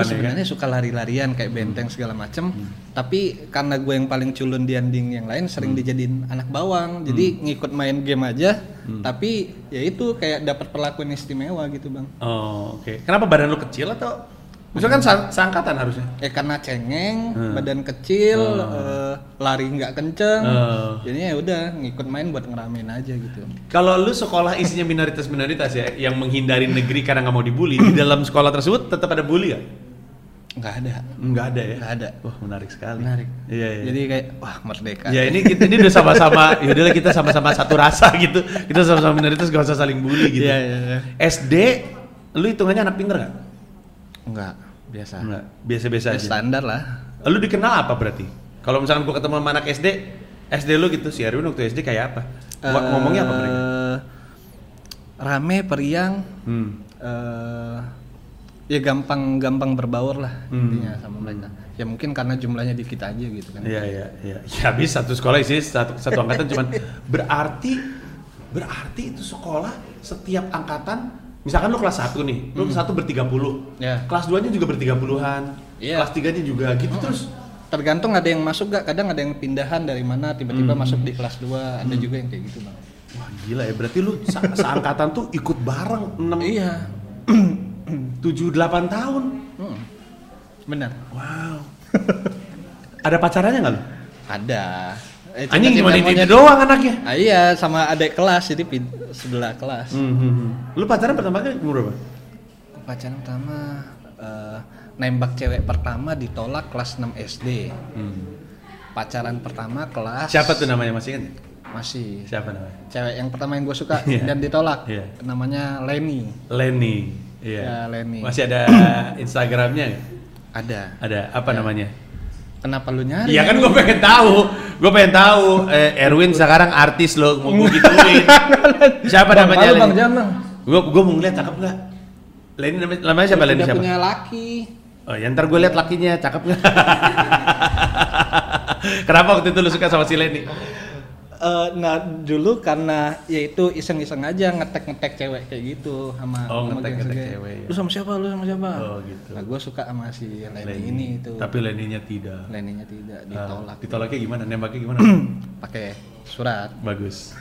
Speaker 1: gue
Speaker 2: ya kan. Hmm.
Speaker 1: sebenarnya suka lari-larian kayak benteng segala macem tapi karena gue yang paling culun di anding yang lain
Speaker 2: Hmm.
Speaker 1: sering dijadiin anak bawang jadi ngikut main game aja
Speaker 2: Hmm.
Speaker 1: tapi ya itu kayak dapat perlakuan istimewa gitu bang
Speaker 2: Oh, oke. Kenapa badan lu kecil atau Misalkan sa- seangkatan harusnya.
Speaker 1: ya karena cengeng
Speaker 2: Hmm.
Speaker 1: badan kecil
Speaker 2: Oh.
Speaker 1: eh, lari nggak kenceng
Speaker 2: Oh.
Speaker 1: jadinya ya udah ngikut main buat ngeramein aja gitu
Speaker 2: Kalau lu sekolah isinya minoritas-minoritas ya, yang menghindari negeri karena nggak mau dibully, di dalam sekolah tersebut tetap ada bully nggak?
Speaker 1: nggak ada
Speaker 2: Nggak ada ya?
Speaker 1: nggak ada
Speaker 2: Wah menarik sekali.
Speaker 1: menarik
Speaker 2: Iya, iya.
Speaker 1: jadi kayak wah merdeka
Speaker 2: Ya ini kita ini udah sama-sama, yaudahlah kita sama-sama satu rasa gitu. Kita sama-sama minoritas gak usah saling bully gitu.
Speaker 1: Iya, iya, iya.
Speaker 2: SD, lu hitungannya anak pinter nggak?
Speaker 1: nggak biasa
Speaker 2: Nggak, biasa-biasa
Speaker 1: Ya,
Speaker 2: aja.
Speaker 1: standar lah
Speaker 2: Lu dikenal apa berarti? Kalau misalkan gua ketemu sama anak SD, SD lu gitu, si Erwin waktu SD kayak apa? Buat ngomongnya apa mereka?
Speaker 1: Eh, rame periang
Speaker 2: Hmm.
Speaker 1: eh ya gampang gampang berbaur lah
Speaker 2: Hmm.
Speaker 1: intinya sama mereka ya mungkin karena jumlahnya dikit aja gitu kan
Speaker 2: Iya iya iya. Ya habis satu sekolah isinya satu, satu angkatan cuman berarti berarti itu sekolah setiap angkatan misalkan lu kelas 1 nih, lu kelas 1 ber 30.
Speaker 1: Iya.
Speaker 2: Kelas 2-nya juga ber 30-an.
Speaker 1: Iya.
Speaker 2: Kelas 3-nya juga gitu terus.
Speaker 1: tergantung ada yang masuk gak kadang ada yang pindahan dari mana
Speaker 2: Hmm.
Speaker 1: tiba-tiba masuk di kelas 2 ada juga yang kayak gitu bang
Speaker 2: Wah, gila ya. Berarti lu se- seangkatan tuh ikut bareng 6
Speaker 1: iya
Speaker 2: 7 8 tahun.
Speaker 1: Hmm. benar
Speaker 2: Wow. Ada pacarannya nggak lu?
Speaker 1: ada eh,
Speaker 2: Anjing Ya, cuma di
Speaker 1: cita-cita maunya-
Speaker 2: itu doang anaknya.
Speaker 1: Ah, iya sama adik kelas jadi pin- sebelah kelas
Speaker 2: Hmm, hmm, hmm. Lu pacaran pertama kali umur berapa?
Speaker 1: pacaran pertama eh, nembak cewek pertama ditolak kelas 6 SD
Speaker 2: Hmm.
Speaker 1: pacaran pertama kelas
Speaker 2: Siapa tuh namanya masih ingat? nggak?
Speaker 1: masih
Speaker 2: Siapa namanya?
Speaker 1: cewek yang pertama yang gue suka
Speaker 2: Iya.
Speaker 1: dan ditolak
Speaker 2: Iya.
Speaker 1: namanya Lenny
Speaker 2: Lenny. Iya.
Speaker 1: Ya, Lenny.
Speaker 2: Masih ada Instagramnya nggak?
Speaker 1: ada
Speaker 2: Ada apa
Speaker 1: Ya.
Speaker 2: namanya?
Speaker 1: kenapa lu nyari
Speaker 2: Iya kan gue pengen tahu. Gue pengen tahu eh, Erwin sekarang artis loh mau gue gituin. siapa
Speaker 1: Bang,
Speaker 2: namanya?
Speaker 1: malu, Bang, jangan, Bang.
Speaker 2: Gue gue mau ngeliat cakep nggak? Lenny namanya, namanya siapa? Lenny
Speaker 1: udah
Speaker 2: siapa?
Speaker 1: punya laki
Speaker 2: Oh, ya ntar gue liat lakinya cakep nggak? Kenapa waktu itu lu suka sama si Lenny?
Speaker 1: Eh, nah dulu karena yaitu iseng-iseng aja ngetek-ngetek cewek kayak gitu sama
Speaker 2: Oh,
Speaker 1: sama
Speaker 2: ngetek-ngetek
Speaker 1: geng-geng.
Speaker 2: cewek, ya.
Speaker 1: lu sama siapa lu sama siapa
Speaker 2: Oh, gitu.
Speaker 1: nah gue suka sama si Lenny, ini itu
Speaker 2: Tapi Lenny-nya tidak.
Speaker 1: Lenny-nya tidak ditolak
Speaker 2: Ah, ditolaknya gimana? Nembaknya gimana?
Speaker 1: pakai surat
Speaker 2: Bagus.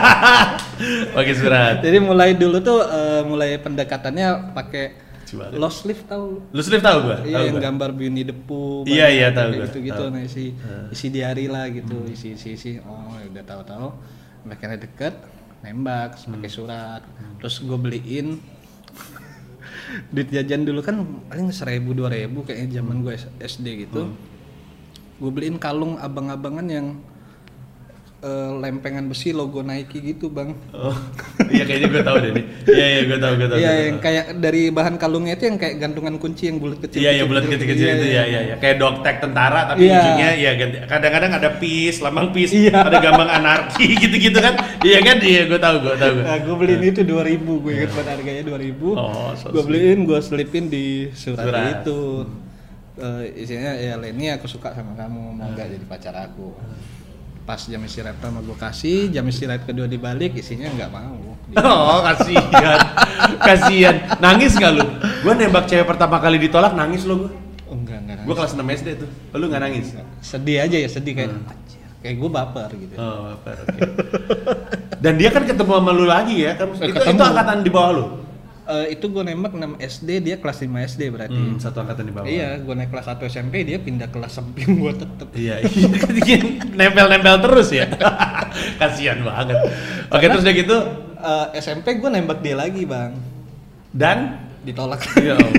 Speaker 2: Pakai surat.
Speaker 1: Jadi mulai dulu tuh eh, mulai pendekatannya pakai
Speaker 2: Lucu banget.
Speaker 1: lost leaf tahu?
Speaker 2: Lu slip tahu gua? Tahu
Speaker 1: Iya yang
Speaker 2: gua.
Speaker 1: gambar Bunny the Pooh.
Speaker 2: Iya, iya, tahu gua,
Speaker 1: Gitu gitu
Speaker 2: tahu. Hmm.
Speaker 1: nah isi isi diary lah gitu, isi isi isi. Oh, ya udah tahu-tahu mereka deket nembak
Speaker 2: Hmm.
Speaker 1: pakai surat. Terus gue beliin duit jajan dulu kan paling seribu dua ribu kayaknya
Speaker 2: Hmm.
Speaker 1: zaman gue SD gitu gue beliin kalung abang-abangan yang eh, lempengan besi logo Nike gitu bang
Speaker 2: Oh. Iya kayaknya gue tahu deh nih. Iya iya gue tahu gue tahu.
Speaker 1: Iya
Speaker 2: gua
Speaker 1: yang
Speaker 2: tahu.
Speaker 1: kayak dari bahan kalungnya itu yang kayak gantungan kunci yang bulat kecil. gitu
Speaker 2: Iya iya bulat kecil-kecil itu ya iya iya kayak doktek tentara tapi
Speaker 1: Iya.
Speaker 2: ujungnya ya ganti- kadang-kadang ada peace, lambang peace,
Speaker 1: Iya.
Speaker 2: ada gambang anarki gitu-gitu kan. Iya kan? Iya gue tahu gue tahu gue.
Speaker 1: Nah, gue beliin itu 2000, gue inget banget harganya 2000.
Speaker 2: Oh, so
Speaker 1: gue beliin, gue selipin di surat,
Speaker 2: Surat. Hmm.
Speaker 1: itu. Eh, isinya ya Leni aku suka sama kamu, mau nggak jadi pacar aku. Pas jam istirahat pertama gue kasih, jam istirahat kedua dibalik, isinya nggak mau. Gitu.
Speaker 2: Oh kasihan, kasihan. Nangis gak lu? Gue nembak cewek pertama kali ditolak nangis lo gue.
Speaker 1: Oh, enggak, enggak.
Speaker 2: Gue kelas 6 SD tuh. Lu nggak nangis?
Speaker 1: Sedih aja ya, sedih kayak
Speaker 2: Hmm.
Speaker 1: anjir. Kayak gue baper gitu.
Speaker 2: Oh, apa, oke. Dan dia kan ketemu sama lu lagi ya? Kan,
Speaker 1: Eh,
Speaker 2: itu,
Speaker 1: ketemu.
Speaker 2: itu angkatan di bawah lu?
Speaker 1: Eh, itu gue nembak 6 SD, dia kelas 5 SD berarti.
Speaker 2: Hmm, satu angkatan di bawah.
Speaker 1: Iya, gue naik kelas 1 SMP, dia pindah kelas samping gue tetep.
Speaker 2: Iya, iya. nempel-nempel terus ya. Kasihan banget. Oke, terus udah gitu
Speaker 1: Eh, SMP gue nembak dia lagi bang,
Speaker 2: dan
Speaker 1: ditolak.
Speaker 2: ya Allah.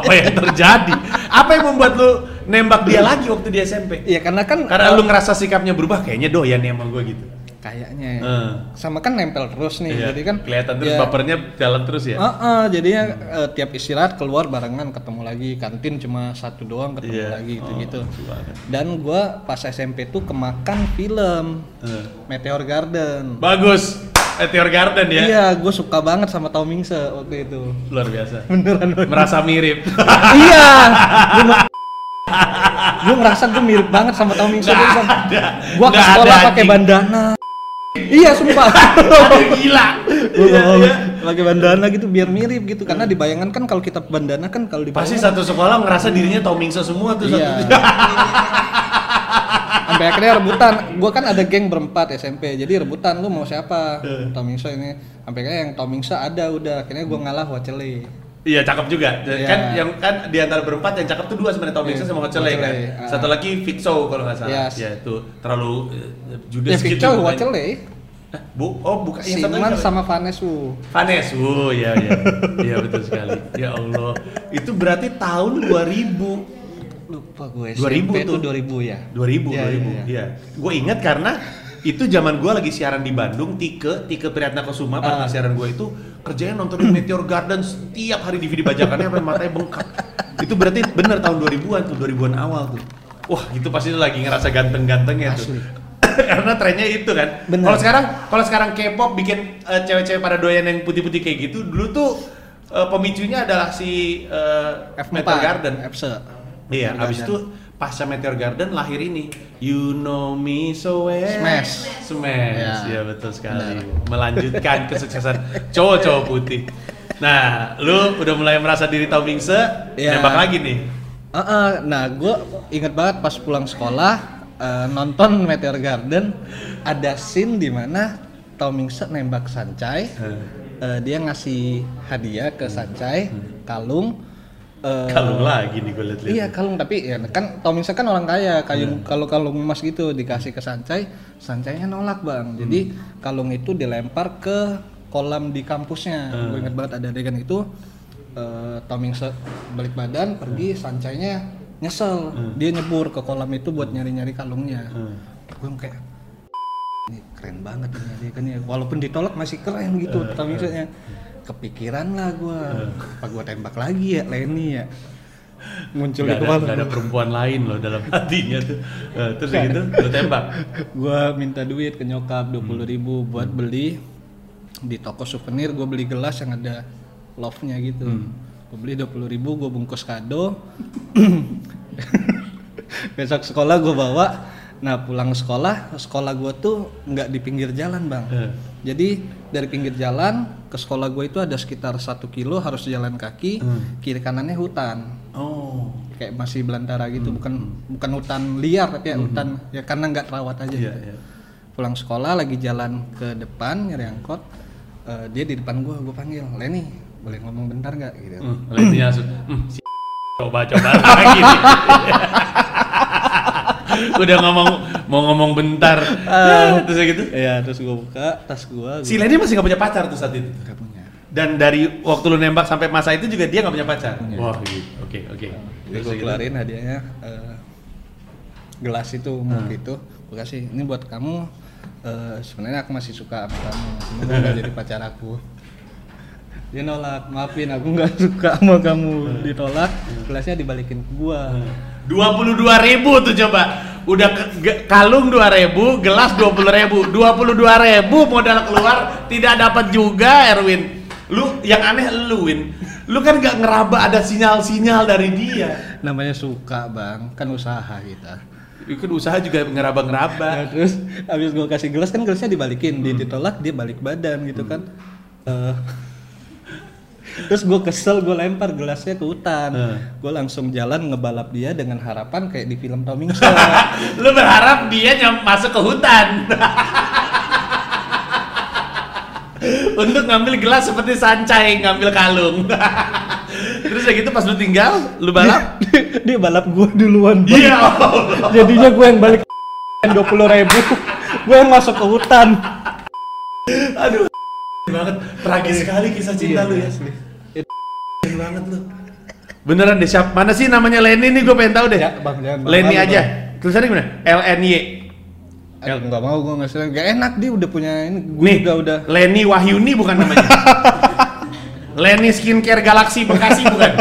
Speaker 2: Apa yang terjadi? Apa yang membuat lu nembak dia lagi waktu di SMP?
Speaker 1: Iya karena kan eh,
Speaker 2: Karena lu ngerasa sikapnya berubah kayaknya doyan nih sama gue gitu.
Speaker 1: kayaknya ya.
Speaker 2: Eh.
Speaker 1: sama kan nempel terus nih,
Speaker 2: Iya,
Speaker 1: jadi kan
Speaker 2: kelihatan terus
Speaker 1: ya,
Speaker 2: bapernya jalan terus ya.
Speaker 1: Heeh, jadinya eh, tiap istirahat keluar barengan ketemu lagi kantin cuma satu doang ketemu
Speaker 2: Iya.
Speaker 1: lagi gitu
Speaker 2: Oh,
Speaker 1: gitu.
Speaker 2: lucu banget.
Speaker 1: Dan gua pas SMP tuh kemakan film
Speaker 2: Eh.
Speaker 1: Meteor Garden.
Speaker 2: Bagus. Meteor Garden ya.
Speaker 1: Iya, gue suka banget sama Tom Mingse waktu itu.
Speaker 2: Luar biasa.
Speaker 1: Beneran. Bang.
Speaker 2: Merasa mirip.
Speaker 1: iya. Gue ngerasa gue mirip banget sama Tom Mingse.
Speaker 2: Nggak
Speaker 1: Gua bilang,
Speaker 2: ada.
Speaker 1: Gua ke
Speaker 2: Nggak ada,
Speaker 1: sekolah pakai
Speaker 2: anjing.
Speaker 1: bandana. iya, sumpah.
Speaker 2: Aduh, gila.
Speaker 1: Gua
Speaker 2: Iya,
Speaker 1: bawa-
Speaker 2: iya.
Speaker 1: pakai bandana gitu biar mirip gitu karena dibayangkan kan kalau kita bandana kan kalau dibayangkan
Speaker 2: Pasti satu sekolah ngerasa dirinya Tomingso semua tuh
Speaker 1: iya.
Speaker 2: satu.
Speaker 1: sampai akhirnya rebutan gua kan ada geng berempat SMP jadi rebutan lu mau siapa
Speaker 2: Eh.
Speaker 1: Tomingso ini sampai akhirnya yang Tomingso ada udah akhirnya gua ngalah Wacele
Speaker 2: Iya cakep juga. Dan
Speaker 1: Iya.
Speaker 2: Kan yang kan di antara berempat yang cakep tuh dua sebenarnya Tom Hanks
Speaker 1: Iya,
Speaker 2: sama Wacele
Speaker 1: Wacele,
Speaker 2: kan.
Speaker 1: ah.
Speaker 2: Satu lagi Fixo kalau nggak salah.
Speaker 1: Yes.
Speaker 2: Ya itu terlalu eh,
Speaker 1: ya
Speaker 2: Judas gitu.
Speaker 1: Victor
Speaker 2: bukan?
Speaker 1: Wacele
Speaker 2: Hah, Bu, oh bukan yang satu
Speaker 1: Siman
Speaker 2: lagi. siapa?
Speaker 1: sama Vanes Wu
Speaker 2: Vanes. Oh iya iya. Iya betul sekali. Ya Allah. Itu berarti tahun 2000.
Speaker 1: lupa gue
Speaker 2: 2000
Speaker 1: SMP
Speaker 2: tuh.
Speaker 1: tuh 2000 ya
Speaker 2: 2000,
Speaker 1: Iya,
Speaker 2: 2000. Iya. Gue ingat karena itu zaman gue lagi siaran di Bandung, Tike, Tike Priyatnakosuma partner
Speaker 1: Ah.
Speaker 2: siaran gue itu kerjanya nontonin Meteor Garden setiap hari DVD bajakannya sampai matanya bengkak. Itu berarti bener tahun 2000-an tuh, 2000-an awal tuh. Wah, itu pasti lu lagi ngerasa ganteng-gantengnya tuh.
Speaker 1: Asli.
Speaker 2: karena trennya itu kan.
Speaker 1: Bener.
Speaker 2: Kalau sekarang kalau sekarang K-pop bikin eh, cewek-cewek pada doyan yang putih-putih kayak gitu, dulu tuh eh, pemicunya adalah si eh,
Speaker 1: F4
Speaker 2: Meteor Garden.
Speaker 1: Fse.
Speaker 2: Iya,
Speaker 1: Meteor
Speaker 2: abis
Speaker 1: Garden.
Speaker 2: itu pasca Meteor Garden lahir ini You Know Me So Well
Speaker 1: Smash. Iya.
Speaker 2: Smash, ya betul
Speaker 1: Benar.
Speaker 2: sekali Melanjutkan kesuksesan cowok-cowok putih Nah, lu udah mulai merasa diri Tom Bingse,
Speaker 1: Iya.
Speaker 2: nembak lagi nih
Speaker 1: Heeh, nah gue inget banget pas pulang sekolah eh, nonton Meteor Garden ada scene di mana Tom Hanks nembak Sancai, Eh, dia ngasih hadiah ke Sancai kalung. eh,
Speaker 2: Kalung lagi nih gue liat-liat
Speaker 1: Iya kalung tapi ya kan Tom Hanks kan orang kaya,
Speaker 2: Iya.
Speaker 1: kalung kalau kalung emas gitu dikasih ke Sancai, Sancainya nolak
Speaker 2: Hmm.
Speaker 1: bang. Jadi kalung itu dilempar ke kolam di kampusnya.
Speaker 2: Ah.
Speaker 1: Gue inget banget ada adegan itu eh Tom Hanks balik badan
Speaker 2: Ah.
Speaker 1: pergi, Sancainya nyesel, dia nyebur ke kolam itu buat nyari-nyari kalungnya.
Speaker 2: Ah.
Speaker 1: Gue kayak ini keren banget ini adegannya. Walaupun ditolak masih keren gitu
Speaker 2: Ah.
Speaker 1: Tom Hanksnya. Kepikiran lah gue, apa gue tembak lagi ya Lenny ya muncul di
Speaker 2: Gak
Speaker 1: kepala
Speaker 2: ada, gak ada perempuan lain loh dalam hatinya tuh Eh, Terus udah gitu, lu tembak
Speaker 1: gue minta duit ke nyokap 20.000 ribu buat beli di toko souvenir gue beli gelas yang ada love nya gitu gue beli 20.000 ribu gue bungkus kado besok sekolah gue bawa nah pulang sekolah sekolah gue tuh nggak di pinggir jalan bang
Speaker 2: Eh.
Speaker 1: jadi dari pinggir jalan ke sekolah gue itu ada sekitar satu kilo harus jalan kaki kiri kanannya hutan
Speaker 2: Oh,
Speaker 1: kayak masih belantara gitu bukan bukan hutan liar tapi ya hutan ya karena nggak terawat aja
Speaker 2: iya,
Speaker 1: gitu.
Speaker 2: iya
Speaker 1: pulang sekolah lagi jalan ke depan nyari angkot eh, dia di depan gua gua panggil Leni boleh ngomong bentar nggak gitu
Speaker 2: Hmm, lalu dia langsung, "Hmm, si coba-coba lagi nih." Udah ngomong, mau ngomong bentar. Ya, terus kayak gitu.
Speaker 1: ya terus gua buka tas gua
Speaker 2: Si
Speaker 1: gua
Speaker 2: Leni masih gak punya pacar tuh saat itu.
Speaker 1: nggak punya
Speaker 2: Dan dari waktu lu nembak sampai masa itu juga dia gak punya pacar. Wah, gitu. Oke, oke.
Speaker 1: jadi
Speaker 2: Terus
Speaker 1: gua
Speaker 2: kayak gitu.
Speaker 1: keluarin hadiahnya eh, gelas itu mug itu gua kasih ini buat kamu "Eh, sebenarnya aku masih suka sama kamu cuma kamu nggak jadi pacar aku dia nolak maafin aku nggak suka sama kamu ditolak gelasnya dibalikin ke gua
Speaker 2: 22.000 tuh coba. Udah ke, ge- kalung 2000, gelas 20.000. 22.000 modal keluar tidak dapat juga Erwin. Lu yang aneh lu Win. Lu kan gak ngeraba ada sinyal-sinyal dari dia.
Speaker 1: namanya suka bang kan usaha kita
Speaker 2: Itu kan usaha juga ngeraba-ngeraba.
Speaker 1: Nah, terus habis gue kasih gelas kan gelasnya dibalikin,
Speaker 2: Hmm.
Speaker 1: Dia ditolak dia balik badan gitu kan. Eh, terus gue kesel gue lempar gelasnya ke hutan.
Speaker 2: Eh.
Speaker 1: Gue langsung jalan ngebalap dia dengan harapan kayak di film Tom Hanks.
Speaker 2: Lu berharap dia nyam- masuk ke hutan. Untuk ngambil gelas seperti sancai ngambil kalung. Terus kayak gitu pas lu tinggal, lu balap.
Speaker 1: dia balap gue duluan. Bang.
Speaker 2: Iya. Allah.
Speaker 1: Jadinya gue yang balik dua puluh ribu. Gue yang masuk ke hutan.
Speaker 2: Aduh. banget tragis sekali kisah
Speaker 1: Iya.
Speaker 2: cinta lu ya. banget lu. Beneran deh siap. Mana sih namanya Leni nih gue pengen tahu deh.
Speaker 1: Ya, Bang, jangan, Bang.
Speaker 2: Leni
Speaker 1: Malu,
Speaker 2: aja. Tulisannya gimana? L N Y.
Speaker 1: Aduh, Ya, nggak mau gue nggak seneng. Gak enak dia udah punya ini. Gue
Speaker 2: Nih,
Speaker 1: juga udah.
Speaker 2: Leni Wahyuni bukan namanya. Leni Skincare Galaxy Bekasi bukan.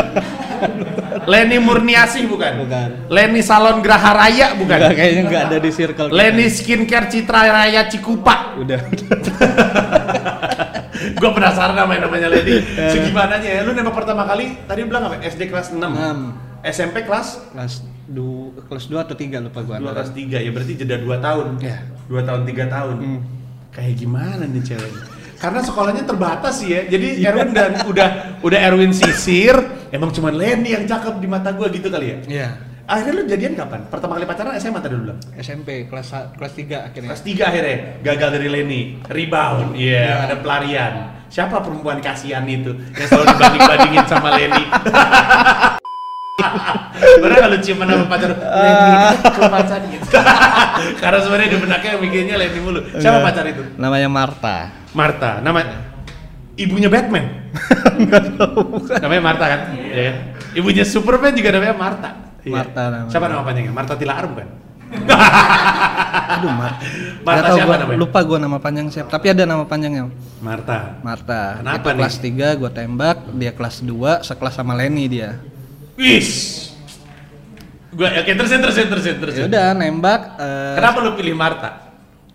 Speaker 2: Leni Murniasih bukan.
Speaker 1: Bukan.
Speaker 2: Leni Salon Graha Raya bukan.
Speaker 1: Nggak, kayaknya nggak ada di circle. kita.
Speaker 2: Leni Skincare Citra Raya Cikupa.
Speaker 1: Udah.
Speaker 2: Gua penasaran sama yang namanya
Speaker 1: Eh.
Speaker 2: Leni. Segimananya ya? Lu nembak pertama kali tadi lu bilang apa? SD kelas 6.
Speaker 1: Enam.
Speaker 2: SMP kelas
Speaker 1: kelas du kelas dua atau tiga lupa gue.
Speaker 2: 2 kelas 3 ya berarti jeda 2 tahun.
Speaker 1: Iya.
Speaker 2: 2 tahun 3 tahun.
Speaker 1: Hmm.
Speaker 2: Kayak gimana nih cewek? Karena sekolahnya terbatas sih ya. Jadi Erwin dan udah udah Erwin sisir, emang cuman Lenny yang cakep di mata gua gitu kali ya.
Speaker 1: Iya.
Speaker 2: Akhirnya lu jadian kapan? Pertama kali pacaran SMA tadi lu bilang.
Speaker 1: SMP kelas sa- kelas 3 akhirnya.
Speaker 2: Kelas 3 akhirnya gagal dari Lenny. Rebound. Iya,
Speaker 1: Iya.
Speaker 2: ada pelarian. Siapa perempuan kasihan itu yang selalu dibanding-bandingin sama Lenny? Bener kalau ciuman sama pacar Lenny itu ke pacar gitu. Karena sebenarnya di benaknya mikirnya Lenny mulu. Siapa
Speaker 1: Iya.
Speaker 2: pacar itu?
Speaker 1: Namanya Marta.
Speaker 2: Marta. Nama ibunya Batman. Namanya Marta kan? Iya. kan? Ibunya Superman juga namanya Marta. Iya.
Speaker 1: Marta namanya.
Speaker 2: Siapa nama panjangnya? kan? Marta Tilaar bukan?
Speaker 1: Aduh Marta.
Speaker 2: Marta
Speaker 1: Nggak tahu
Speaker 2: siapa
Speaker 1: gua,
Speaker 2: namanya?
Speaker 1: Lupa gua nama panjang siapa, tapi ada nama panjangnya.
Speaker 2: Marta.
Speaker 1: Marta.
Speaker 2: Kenapa
Speaker 1: Itu
Speaker 2: nih?
Speaker 1: kelas 3 gua tembak, dia kelas 2 sekelas sama Leni dia.
Speaker 2: Wis. Gua oke terus terus terus terus.
Speaker 1: Ya udah nembak eh,
Speaker 2: Kenapa lu pilih Marta?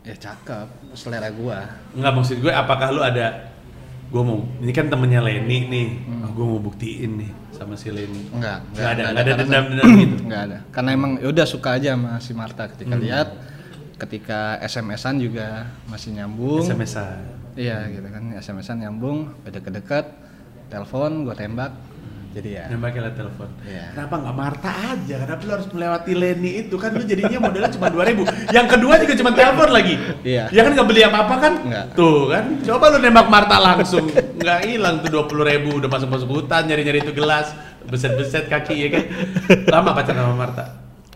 Speaker 1: ya cakep selera gua.
Speaker 2: Enggak maksud gue apakah lu ada gue mau ini kan temennya Leni nih. Ah, gue mau buktiin nih sama si Leni.
Speaker 1: Enggak,
Speaker 2: Enggak ada, enggak ada
Speaker 1: kata-
Speaker 2: dendam-dendam gitu. Hmm.
Speaker 1: Enggak ada. Karena emang ya udah suka aja sama si Marta ketika lihat ketika SMS-an juga masih nyambung.
Speaker 2: SMS-an.
Speaker 1: Iya gitu kan SMS-an nyambung dekat-dekat telepon gue tembak jadi ya
Speaker 2: Nembaknya lewat telepon.
Speaker 1: Iya.
Speaker 2: Kenapa nggak Marta aja? Kenapa lu harus melewati Leni itu? Kan lu jadinya modalnya cuma 2000. Yang kedua juga cuma telepon lagi.
Speaker 1: Iya.
Speaker 2: Ya kan nggak beli apa-apa kan?
Speaker 1: Nggak.
Speaker 2: Tuh kan. Coba lu nembak Marta langsung. Nggak hilang tuh 20.000 udah masuk-masuk hutan nyari-nyari itu gelas. Beset-beset kaki ya kan. Lama pacaran sama Marta?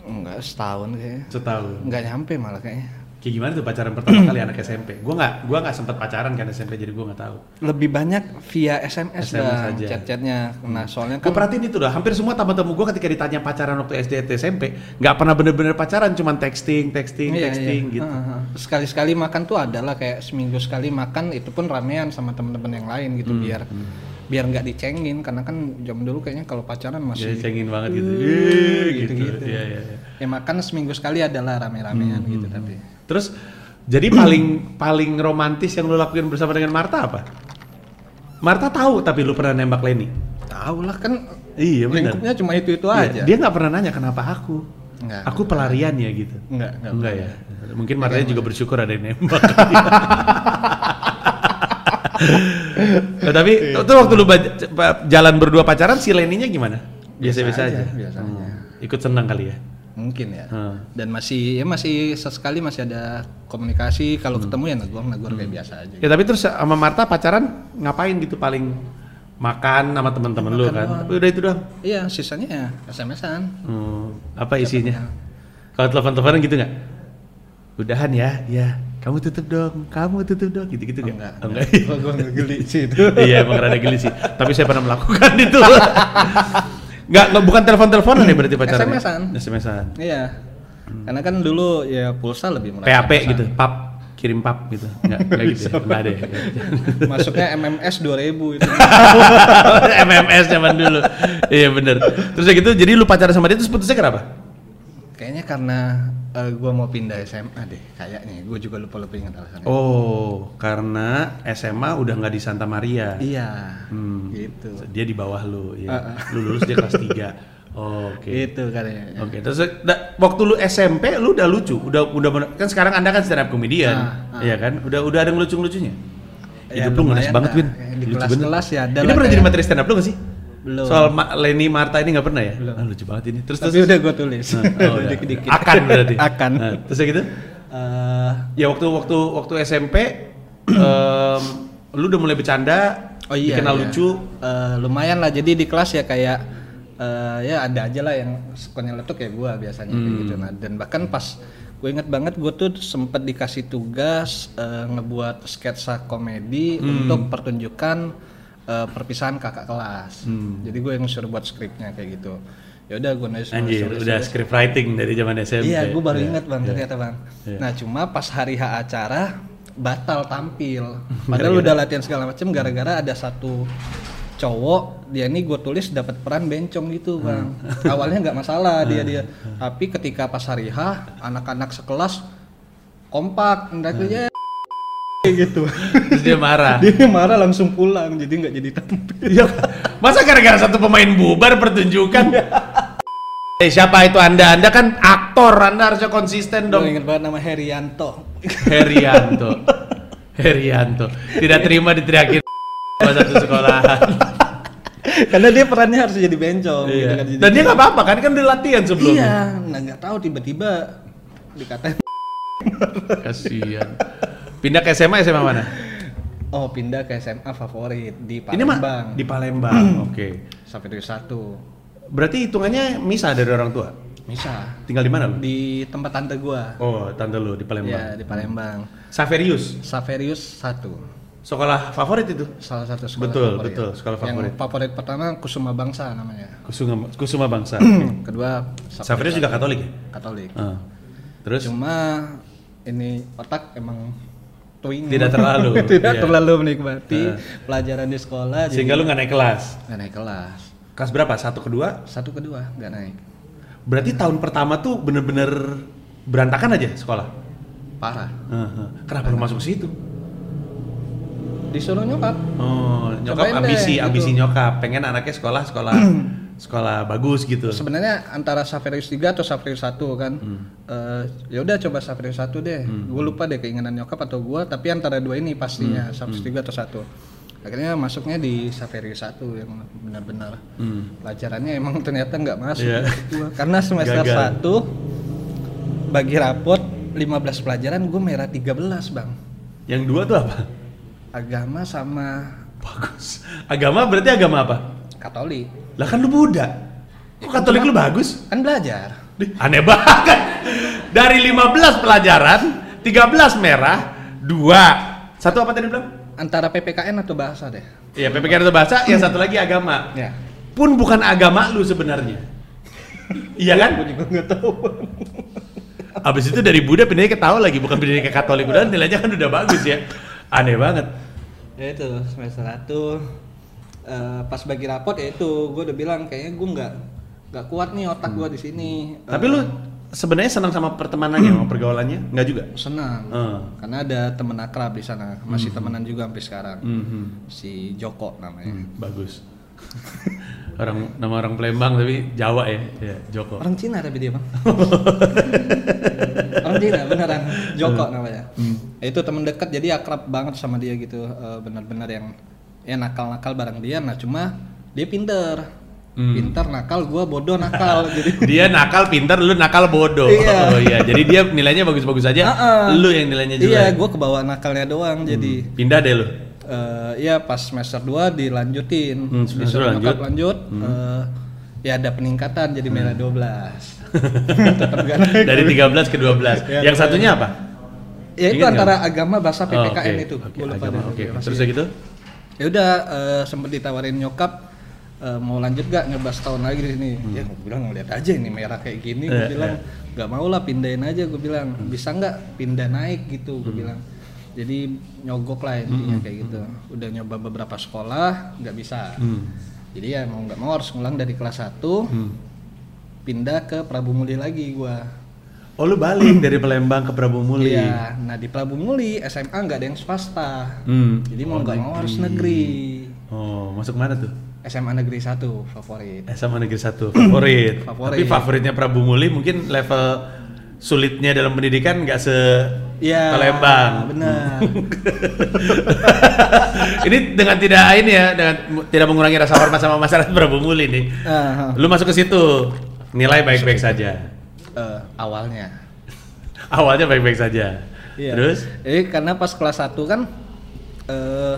Speaker 1: enggak setahun kayaknya
Speaker 2: Setahun.
Speaker 1: enggak nyampe malah kayaknya
Speaker 2: Kayak gimana tuh pacaran pertama kali anak SMP? Gua nggak gua nggak sempat pacaran kan SMP jadi gua nggak tahu.
Speaker 1: lebih banyak via SMS,
Speaker 2: SMS
Speaker 1: bang
Speaker 2: aja.
Speaker 1: chat-chatnya nah soalnya
Speaker 2: Gue
Speaker 1: kan
Speaker 2: perhatiin itu dah, hampir semua tamu-tamu gue ketika ditanya pacaran waktu SD atau SMP nggak pernah bener-bener pacaran, cuman texting, texting,
Speaker 1: Iya, iya.
Speaker 2: texting gitu
Speaker 1: Heeh. sekali-sekali makan tuh adalah kayak seminggu sekali makan itu pun ramean sama temen-temen yang lain gitu biar biar nggak dicengin karena kan jam dulu kayaknya kalau pacaran
Speaker 2: Jadi
Speaker 1: masih
Speaker 2: cengin banget gitu
Speaker 1: "Eh,"
Speaker 2: "Eh," gitu,
Speaker 1: gitu-gitu.
Speaker 2: Iya, iya, iya.
Speaker 1: ya makan seminggu sekali adalah rame-ramean gitu tapi
Speaker 2: Terus jadi paling paling romantis yang lu lakuin bersama dengan Marta apa? Marta tahu tapi lu pernah nembak Leni
Speaker 1: tahu lah kan
Speaker 2: Iya benar.
Speaker 1: lingkupnya cuma itu itu
Speaker 2: Iya,
Speaker 1: aja
Speaker 2: Dia nggak pernah nanya kenapa aku
Speaker 1: Nggak.
Speaker 2: Aku pelarian ya gitu
Speaker 1: Nggak, nggak
Speaker 2: Enggak ya Mungkin Martanya juga bersyukur ada yang nembak Nah, tapi
Speaker 1: Iya.
Speaker 2: itu waktu lu ba- c- pa- jalan berdua pacaran si Leninya gimana? Biasa-biasa
Speaker 1: Biasa
Speaker 2: aja.
Speaker 1: aja, biasa
Speaker 2: Hmm.
Speaker 1: aja.
Speaker 2: Ikut senang kali ya.
Speaker 1: mungkin ya
Speaker 2: Hmm.
Speaker 1: dan masih ya masih sesekali masih ada komunikasi kalau
Speaker 2: Hmm.
Speaker 1: ketemu ya negur negur kayak biasa aja
Speaker 2: Ya tapi terus sama Marta pacaran ngapain gitu paling makan sama teman-teman lu
Speaker 1: Makan
Speaker 2: kan.
Speaker 1: doang.
Speaker 2: Tapi udah itu doang.
Speaker 1: iya sisanya ya SMS-an
Speaker 2: Hmm, apa isinya? Kalau telepon-teleponan gitu nggak? Udahan ya, ya. Kamu tutup dong, kamu tutup dong, gitu-gitu
Speaker 1: Oh,
Speaker 2: nggak?
Speaker 1: enggak
Speaker 2: Oh,
Speaker 1: enggak
Speaker 2: enggak.
Speaker 1: gua gua ngegeli sih itu
Speaker 2: iya emang rada geli sih. Tapi saya pernah melakukan itu. Nggak, nggak, bukan telepon-teleponan ya berarti pacaran?
Speaker 1: SMS-an.
Speaker 2: SMS-an. Hmm.
Speaker 1: iya karena kan dulu ya pulsa lebih murah
Speaker 2: PAP
Speaker 1: SMS-an.
Speaker 2: gitu, pap. kirim pap gitu. Enggak, enggak gitu. ya? Enggak ada. ya?
Speaker 1: Masuknya MMS 2000 itu.
Speaker 2: ya? MMS zaman dulu. Iya bener. Terus ya gitu, jadi lu pacaran sama dia terus putusnya kenapa?
Speaker 1: Kayaknya karena eh, gua mau pindah SMA deh, kayaknya. Gua juga lupa-lupa ingat alasannya.
Speaker 2: Oh, karena SMA udah nggak di Santa Maria.
Speaker 1: Iya.
Speaker 2: Hmm.
Speaker 1: Gitu.
Speaker 2: Dia di bawah lu, ya.
Speaker 1: Ah,
Speaker 2: Lu lulus dia kelas 3. Oh, Oke.
Speaker 1: Gitu kayaknya.
Speaker 2: Oke, terus da- waktu lu SMP lu udah lucu, udah udah men- kan sekarang Anda kan stand up comedian,
Speaker 1: Ah,
Speaker 2: iya kan? Udah udah ada ngelucu-ngelucunya.
Speaker 1: Ya,
Speaker 2: Hidup lu ngeles
Speaker 1: lumayan
Speaker 2: banget,
Speaker 1: lah.
Speaker 2: Win.
Speaker 1: Kayak di
Speaker 2: Lucu
Speaker 1: kelas-kelas
Speaker 2: banget.
Speaker 1: ya ada
Speaker 2: Ini
Speaker 1: lah
Speaker 2: pernah jadi
Speaker 1: kayak-
Speaker 2: materi stand up lu gak sih?
Speaker 1: Belum.
Speaker 2: Soal Ma- Leni Marta ini gak pernah ya?
Speaker 1: Belum.
Speaker 2: Ah, lucu banget ini. Terus
Speaker 1: Tapi
Speaker 2: terus
Speaker 1: udah gua tulis.
Speaker 2: Nah, oh, udah.
Speaker 1: Dikit-dikit.
Speaker 2: Akan berarti.
Speaker 1: Akan.
Speaker 2: Nah, terus ya gitu.
Speaker 1: Eh,
Speaker 2: Ya waktu waktu waktu SMP em, lu udah mulai bercanda,
Speaker 1: Oh iya.
Speaker 2: dikenal
Speaker 1: iya.
Speaker 2: lucu.
Speaker 1: Eh, lumayan lah. Jadi di kelas ya kayak eh, ya ada aja lah yang suka nyeletuk ya gua biasanya kayak gitu.
Speaker 2: Hmm.
Speaker 1: Nah, dan bahkan pas gue inget banget gue tuh sempet dikasih tugas eh, ngebuat sketsa komedi
Speaker 2: Hmm.
Speaker 1: untuk pertunjukan eh, perpisahan kakak kelas.
Speaker 2: Hmm.
Speaker 1: Jadi gue yang suruh buat skripnya kayak gitu. Ya udah gue nulis. nulis,
Speaker 2: Anjir,
Speaker 1: nulis,
Speaker 2: udah
Speaker 1: nulis.
Speaker 2: script writing dari zaman SMP.
Speaker 1: Iya, gue baru
Speaker 2: Iya,
Speaker 1: ingat bang
Speaker 2: iya.
Speaker 1: ternyata bang.
Speaker 2: Iya.
Speaker 1: Nah cuma pas hari H acara batal tampil. Padahal udah latihan segala macem gara-gara ada satu cowok dia ini gue tulis dapat peran bencong gitu
Speaker 2: Hmm.
Speaker 1: bang. Awalnya nggak masalah dia dia. Tapi ketika pas hari H anak-anak sekelas kompak
Speaker 2: Hmm.
Speaker 1: mereka ya kayak gitu.
Speaker 2: Terus dia marah.
Speaker 1: dia marah langsung pulang jadi nggak jadi tampil. Iya.
Speaker 2: Masa gara-gara satu pemain bubar pertunjukan? eh siapa itu anda? Anda kan aktor, anda harusnya konsisten
Speaker 1: Gue
Speaker 2: dong.
Speaker 1: inget banget nama Herianto.
Speaker 2: Herianto, Herianto, tidak terima diteriakin sama satu sekolahan.
Speaker 1: Karena dia perannya harus jadi bencong.
Speaker 2: Iya.
Speaker 1: gitu kan. Jadi
Speaker 2: Dan dia nggak apa-apa kan kan udah latihan sebelumnya.
Speaker 1: Iya, nah nggak tahu tiba-tiba dikatain
Speaker 2: Kasihan. Pindah ke SMA SMA mana?
Speaker 1: oh pindah ke SMA favorit di
Speaker 2: Ini mah
Speaker 1: Palembang.
Speaker 2: di Palembang. Oke.
Speaker 1: Sampai dari satu.
Speaker 2: Berarti hitungannya misah dari orang tua.
Speaker 1: Bisa
Speaker 2: Tinggal di mana lu?
Speaker 1: di tempat tante gua.
Speaker 2: Oh, tante lu di
Speaker 1: Iya,
Speaker 2: Palembang.
Speaker 1: di Palembang.
Speaker 2: Saverius,
Speaker 1: Saverius satu.
Speaker 2: sekolah favorit itu.
Speaker 1: Salah satu sekolah
Speaker 2: Betul,
Speaker 1: favorit.
Speaker 2: betul, sekolah favorit.
Speaker 1: Yang favorit pertama Kusuma Bangsa namanya.
Speaker 2: Kusuma, Kusuma Bangsa.
Speaker 1: Kedua
Speaker 2: Hmm. Saverius juga Katolik ya?
Speaker 1: Katolik.
Speaker 2: Ah. Terus
Speaker 1: Cuma ini otak emang twing.
Speaker 2: Tidak terlalu,
Speaker 1: Tidak
Speaker 2: iya.
Speaker 1: terlalu menikmati
Speaker 2: Ah.
Speaker 1: pelajaran di sekolah. jadi
Speaker 2: sehingga lu nggak naik kelas.
Speaker 1: nggak naik kelas.
Speaker 2: Kelas berapa? Satu kedua?
Speaker 1: Satu kedua nggak naik.
Speaker 2: Berarti tahun pertama tuh bener-bener berantakan aja sekolah.
Speaker 1: parah
Speaker 2: Heeh. Kenapa lu masuk situ?
Speaker 1: disuruh nyokap
Speaker 2: Oh,
Speaker 1: Cobain
Speaker 2: nyokap
Speaker 1: deh,
Speaker 2: ambisi,
Speaker 1: gitu.
Speaker 2: ambisi nyokap. Pengen anaknya sekolah, sekolah, sekolah bagus gitu.
Speaker 1: sebenarnya antara Saverius 3 atau Saverius 1 kan
Speaker 2: Hmm.
Speaker 1: Eh, ya udah coba Saverius 1 deh gue lupa deh keinginan nyokap atau gue tapi antara dua ini pastinya
Speaker 2: Hmm.
Speaker 1: Saverius 3 atau 1 akhirnya masuknya di Saverius 1 yang benar-benar
Speaker 2: Hmm.
Speaker 1: pelajarannya emang ternyata nggak masuk
Speaker 2: Iya.
Speaker 1: menurut gua. karena semester
Speaker 2: Gagal.
Speaker 1: 1 bagi rapot 15 pelajaran gue merah 13 bang
Speaker 2: Yang dua tuh apa?
Speaker 1: agama sama
Speaker 2: Bagus. Agama berarti agama apa?
Speaker 1: Katolik
Speaker 2: Lah kan lu Buddha. Kok Katolik lu bagus?
Speaker 1: kan belajar
Speaker 2: Dih, Aneh banget. Dari 15 pelajaran, 13 merah, 2. Satu apa tadi bilang?
Speaker 1: antara PPKN atau bahasa deh
Speaker 2: Iya, PPKN itu bahasa, yang satu lagi agama.
Speaker 1: ya
Speaker 2: Pun bukan agama lu sebenarnya. Iya kan?
Speaker 1: Gue juga nggak tahu.
Speaker 2: Abis itu dari Buddha pindahnya ke Tao lagi, bukan pindahnya ke Katolik. Udah nilainya kan udah bagus ya. Aneh banget.
Speaker 1: ya itu semester satu eh, pas bagi rapot ya itu gue udah bilang kayaknya gue nggak nggak kuat nih otak gue di sini.
Speaker 2: Hmm.
Speaker 1: Eh,
Speaker 2: Tapi lu sebenarnya senang sama pertemanannya, sama pergaulannya? Enggak juga?
Speaker 1: senang
Speaker 2: Eh.
Speaker 1: karena ada temen akrab di sana masih
Speaker 2: Hmm.
Speaker 1: temenan juga sampai sekarang
Speaker 2: Mhm.
Speaker 1: si Joko
Speaker 2: Hmm.
Speaker 1: namanya
Speaker 2: Bagus. orang nama orang Palembang tapi Jawa ya, ya Joko.
Speaker 1: orang Cina tapi dia bang orang Cina beneran
Speaker 2: Eh,
Speaker 1: Joko namanya
Speaker 2: hmm.
Speaker 1: Ya, itu temen dekat jadi akrab banget sama dia gitu Eh, bener-bener yang ya nakal-nakal bareng dia nah cuma dia pinter pinter nakal gue bodoh nakal jadi
Speaker 2: Hmm. dia nakal pintar lu nakal bodoh
Speaker 1: Iya.
Speaker 2: oh iya jadi dia nilainya bagus-bagus aja
Speaker 1: Heeh.
Speaker 2: lu yang nilainya ya? Hmm. jelek
Speaker 1: Iya, gue kebawa nakalnya doang. Jadi,
Speaker 2: pindah deh lu
Speaker 1: eh ya pas semester 2 dilanjutin,
Speaker 2: Hmm, semester
Speaker 1: Disuruh
Speaker 2: lanjut. Hmm.
Speaker 1: nyokap lanjut. eh, ya ada peningkatan jadi merah 12. Tetap gak naik.
Speaker 2: dari 13 ke 12
Speaker 1: Iya,
Speaker 2: yang satunya apa
Speaker 1: Ya itu
Speaker 2: Ingat
Speaker 1: antara agama bahasa
Speaker 2: Oh,
Speaker 1: PPKN
Speaker 2: oke.
Speaker 1: itu.
Speaker 2: Oke,
Speaker 1: Gua lupa
Speaker 2: agama,
Speaker 1: deh.
Speaker 2: oke. terus udah gitu
Speaker 1: Ya udah eh, sempet ditawarin nyokap eh, mau lanjut gak ngebahas tahun lagi di sini.
Speaker 2: Hmm.
Speaker 1: Ya gue bilang ngeliat aja ini merah kayak gini. Gue
Speaker 2: Iya, Hmm.
Speaker 1: bilang nggak mau lah pindahin aja. Gue bilang bisa nggak pindah naik gitu. Gue bilang jadi nyogok lah
Speaker 2: Hmm,
Speaker 1: intinya kayak gitu udah nyoba beberapa sekolah nggak bisa
Speaker 2: Hmm.
Speaker 1: jadi ya mau nggak mau harus ngulang dari kelas 1
Speaker 2: Hmm.
Speaker 1: pindah ke Prabu Muli lagi gua
Speaker 2: Oh lu balik dari Palembang ke Prabu Muli.
Speaker 1: Iya, nah di Prabu Muli SMA nggak ada yang swasta
Speaker 2: Hmm.
Speaker 1: jadi mau nggak mau harus negeri
Speaker 2: Oh, masuk mana tuh?
Speaker 1: SMA negeri 1 favorit
Speaker 2: SMA Negeri 1 favorit.
Speaker 1: Favorit.
Speaker 2: Tapi favoritnya Prabu Muli mungkin level sulitnya dalam pendidikan nggak se
Speaker 1: Iya,
Speaker 2: Palembang.
Speaker 1: benar
Speaker 2: ini dengan tidak ini ya, dengan mu- tidak mengurangi rasa hormat sama masyarakat Prabu Muli nih.
Speaker 1: Ah,
Speaker 2: Lu masuk ke situ, nilai baik-baik saja.
Speaker 1: eh, awalnya
Speaker 2: Awalnya baik-baik saja.
Speaker 1: Iya.
Speaker 2: Terus?
Speaker 1: Jadi karena pas kelas 1 kan eh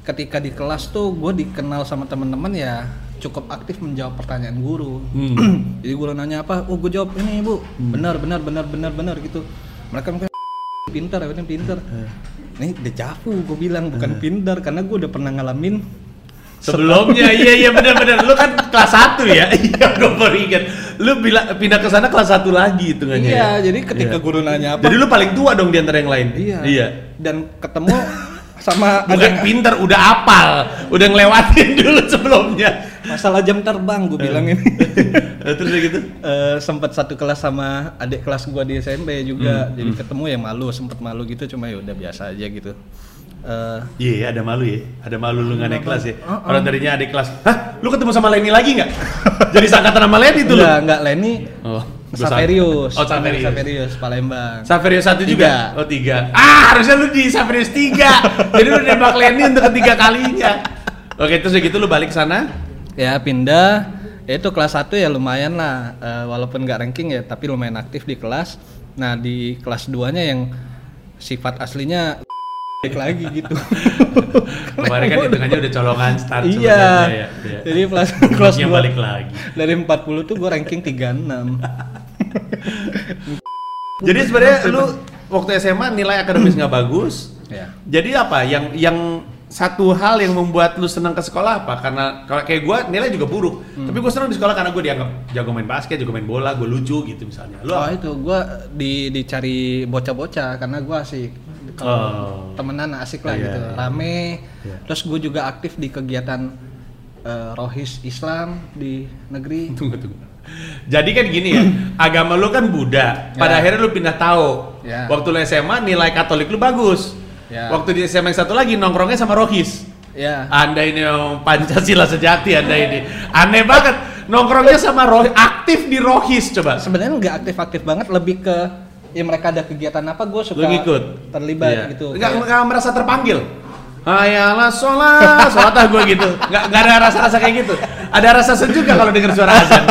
Speaker 1: ketika di kelas tuh gue dikenal sama teman-teman ya cukup aktif menjawab pertanyaan guru.
Speaker 2: Hmm.
Speaker 1: Jadi guru nanya apa, oh gue jawab ini bu, benar benar benar benar benar gitu. Mereka mungkin pintar, akhirnya pintar.
Speaker 2: Eh.
Speaker 1: Ini dejavu gue bilang bukan pintar karena gue udah pernah ngalamin
Speaker 2: Sebelumnya, iya iya benar-benar. Lu kan kelas 1 ya? Iya, gue baru ingat. Lu bila, pindah ke sana kelas 1 lagi hitungannya.
Speaker 1: Iya,
Speaker 2: ya?
Speaker 1: jadi ketika
Speaker 2: Iya.
Speaker 1: guru nanya apa,
Speaker 2: Jadi lu paling tua dong di antara yang lain.
Speaker 1: iya,
Speaker 2: Iya.
Speaker 1: dan ketemu sama ada
Speaker 2: Bukan pinter, udah apal, udah ngelewatin dulu sebelumnya.
Speaker 1: masalah jam terbang gue bilang ini.
Speaker 2: Eh, Terus udah gitu.
Speaker 1: eh sempat satu kelas sama adik kelas gua di SMP
Speaker 2: Hmm,
Speaker 1: juga jadi ketemu ya malu sempat malu gitu cuma ya udah biasa aja gitu Eh,
Speaker 2: Iya, ada malu ya. Ada malu lu nggak naik kelas ya. Orang tadinya adik kelas. Hah, lu ketemu sama Leni lagi nggak? Jadi sangkatan sama Leni tuh lu.
Speaker 1: enggak enggak Leni
Speaker 2: Gitu Oh,
Speaker 1: Saverius
Speaker 2: Oh, Saverius.
Speaker 1: Saverius Palembang
Speaker 2: Saverius satu
Speaker 1: Tiga.
Speaker 2: juga? Oh tiga. Ah harusnya lu di Saverius tiga. Jadi lu nembak Lenny untuk ketiga kalinya. Oke terus udah gitu lu balik ke sana.
Speaker 1: ya pindah ya itu kelas 1 ya lumayan lah Eh, walaupun nggak ranking ya tapi lumayan aktif di kelas nah di kelas 2 nya yang sifat aslinya lagi gitu
Speaker 2: Kemarin kan hitungannya udah colongan start
Speaker 1: iya
Speaker 2: sebenarnya ya. Iya.
Speaker 1: jadi kelas kelas
Speaker 2: Yang
Speaker 1: 2
Speaker 2: balik lagi.
Speaker 1: dari 40 tuh gue ranking 36
Speaker 2: Jadi sebenarnya lu waktu SMA nilai akademis nggak bagus.
Speaker 1: ya
Speaker 2: Jadi apa? Yang yang satu hal yang membuat lu senang ke sekolah apa? Karena kalau kayak gua nilai juga buruk.
Speaker 1: Hmm.
Speaker 2: Tapi gua senang di sekolah karena gua dianggap jago main basket, jago main bola, gua lucu gitu misalnya. Lu
Speaker 1: oh
Speaker 2: apa?
Speaker 1: itu gue di dicari bocah-bocah karena gue asik
Speaker 2: Oh.
Speaker 1: temenan asik lah
Speaker 2: Iya,
Speaker 1: gitu
Speaker 2: iya.
Speaker 1: rame
Speaker 2: Iya.
Speaker 1: terus gue juga aktif di kegiatan eh, rohis Islam di negeri
Speaker 2: Tunggu tunggu. Jadi kan gini ya, agama lu kan Buddha.
Speaker 1: Ya.
Speaker 2: Pada akhirnya lu pindah tahu.
Speaker 1: Ya.
Speaker 2: Waktu lu SMA nilai Katolik lu bagus.
Speaker 1: Ya.
Speaker 2: Waktu di SMA yang satu lagi nongkrongnya sama Rohis.
Speaker 1: ya
Speaker 2: Anda ini memang Pancasila sejati Anda ini. Aneh banget. Nongkrongnya sama Rohis, aktif di Rohis coba.
Speaker 1: sebenarnya nggak aktif-aktif banget lebih ke ya mereka ada kegiatan apa gue suka
Speaker 2: Lu ngikut.
Speaker 1: terlibat
Speaker 2: Iya.
Speaker 1: gitu
Speaker 2: Nggak,
Speaker 1: Kayak-
Speaker 2: nggak merasa terpanggil. Ayalah sholat, sholat ah gue gitu. Nggak, nggak ada rasa-rasa kayak gitu. Ada rasa sejuk nggak kalau denger suara azan?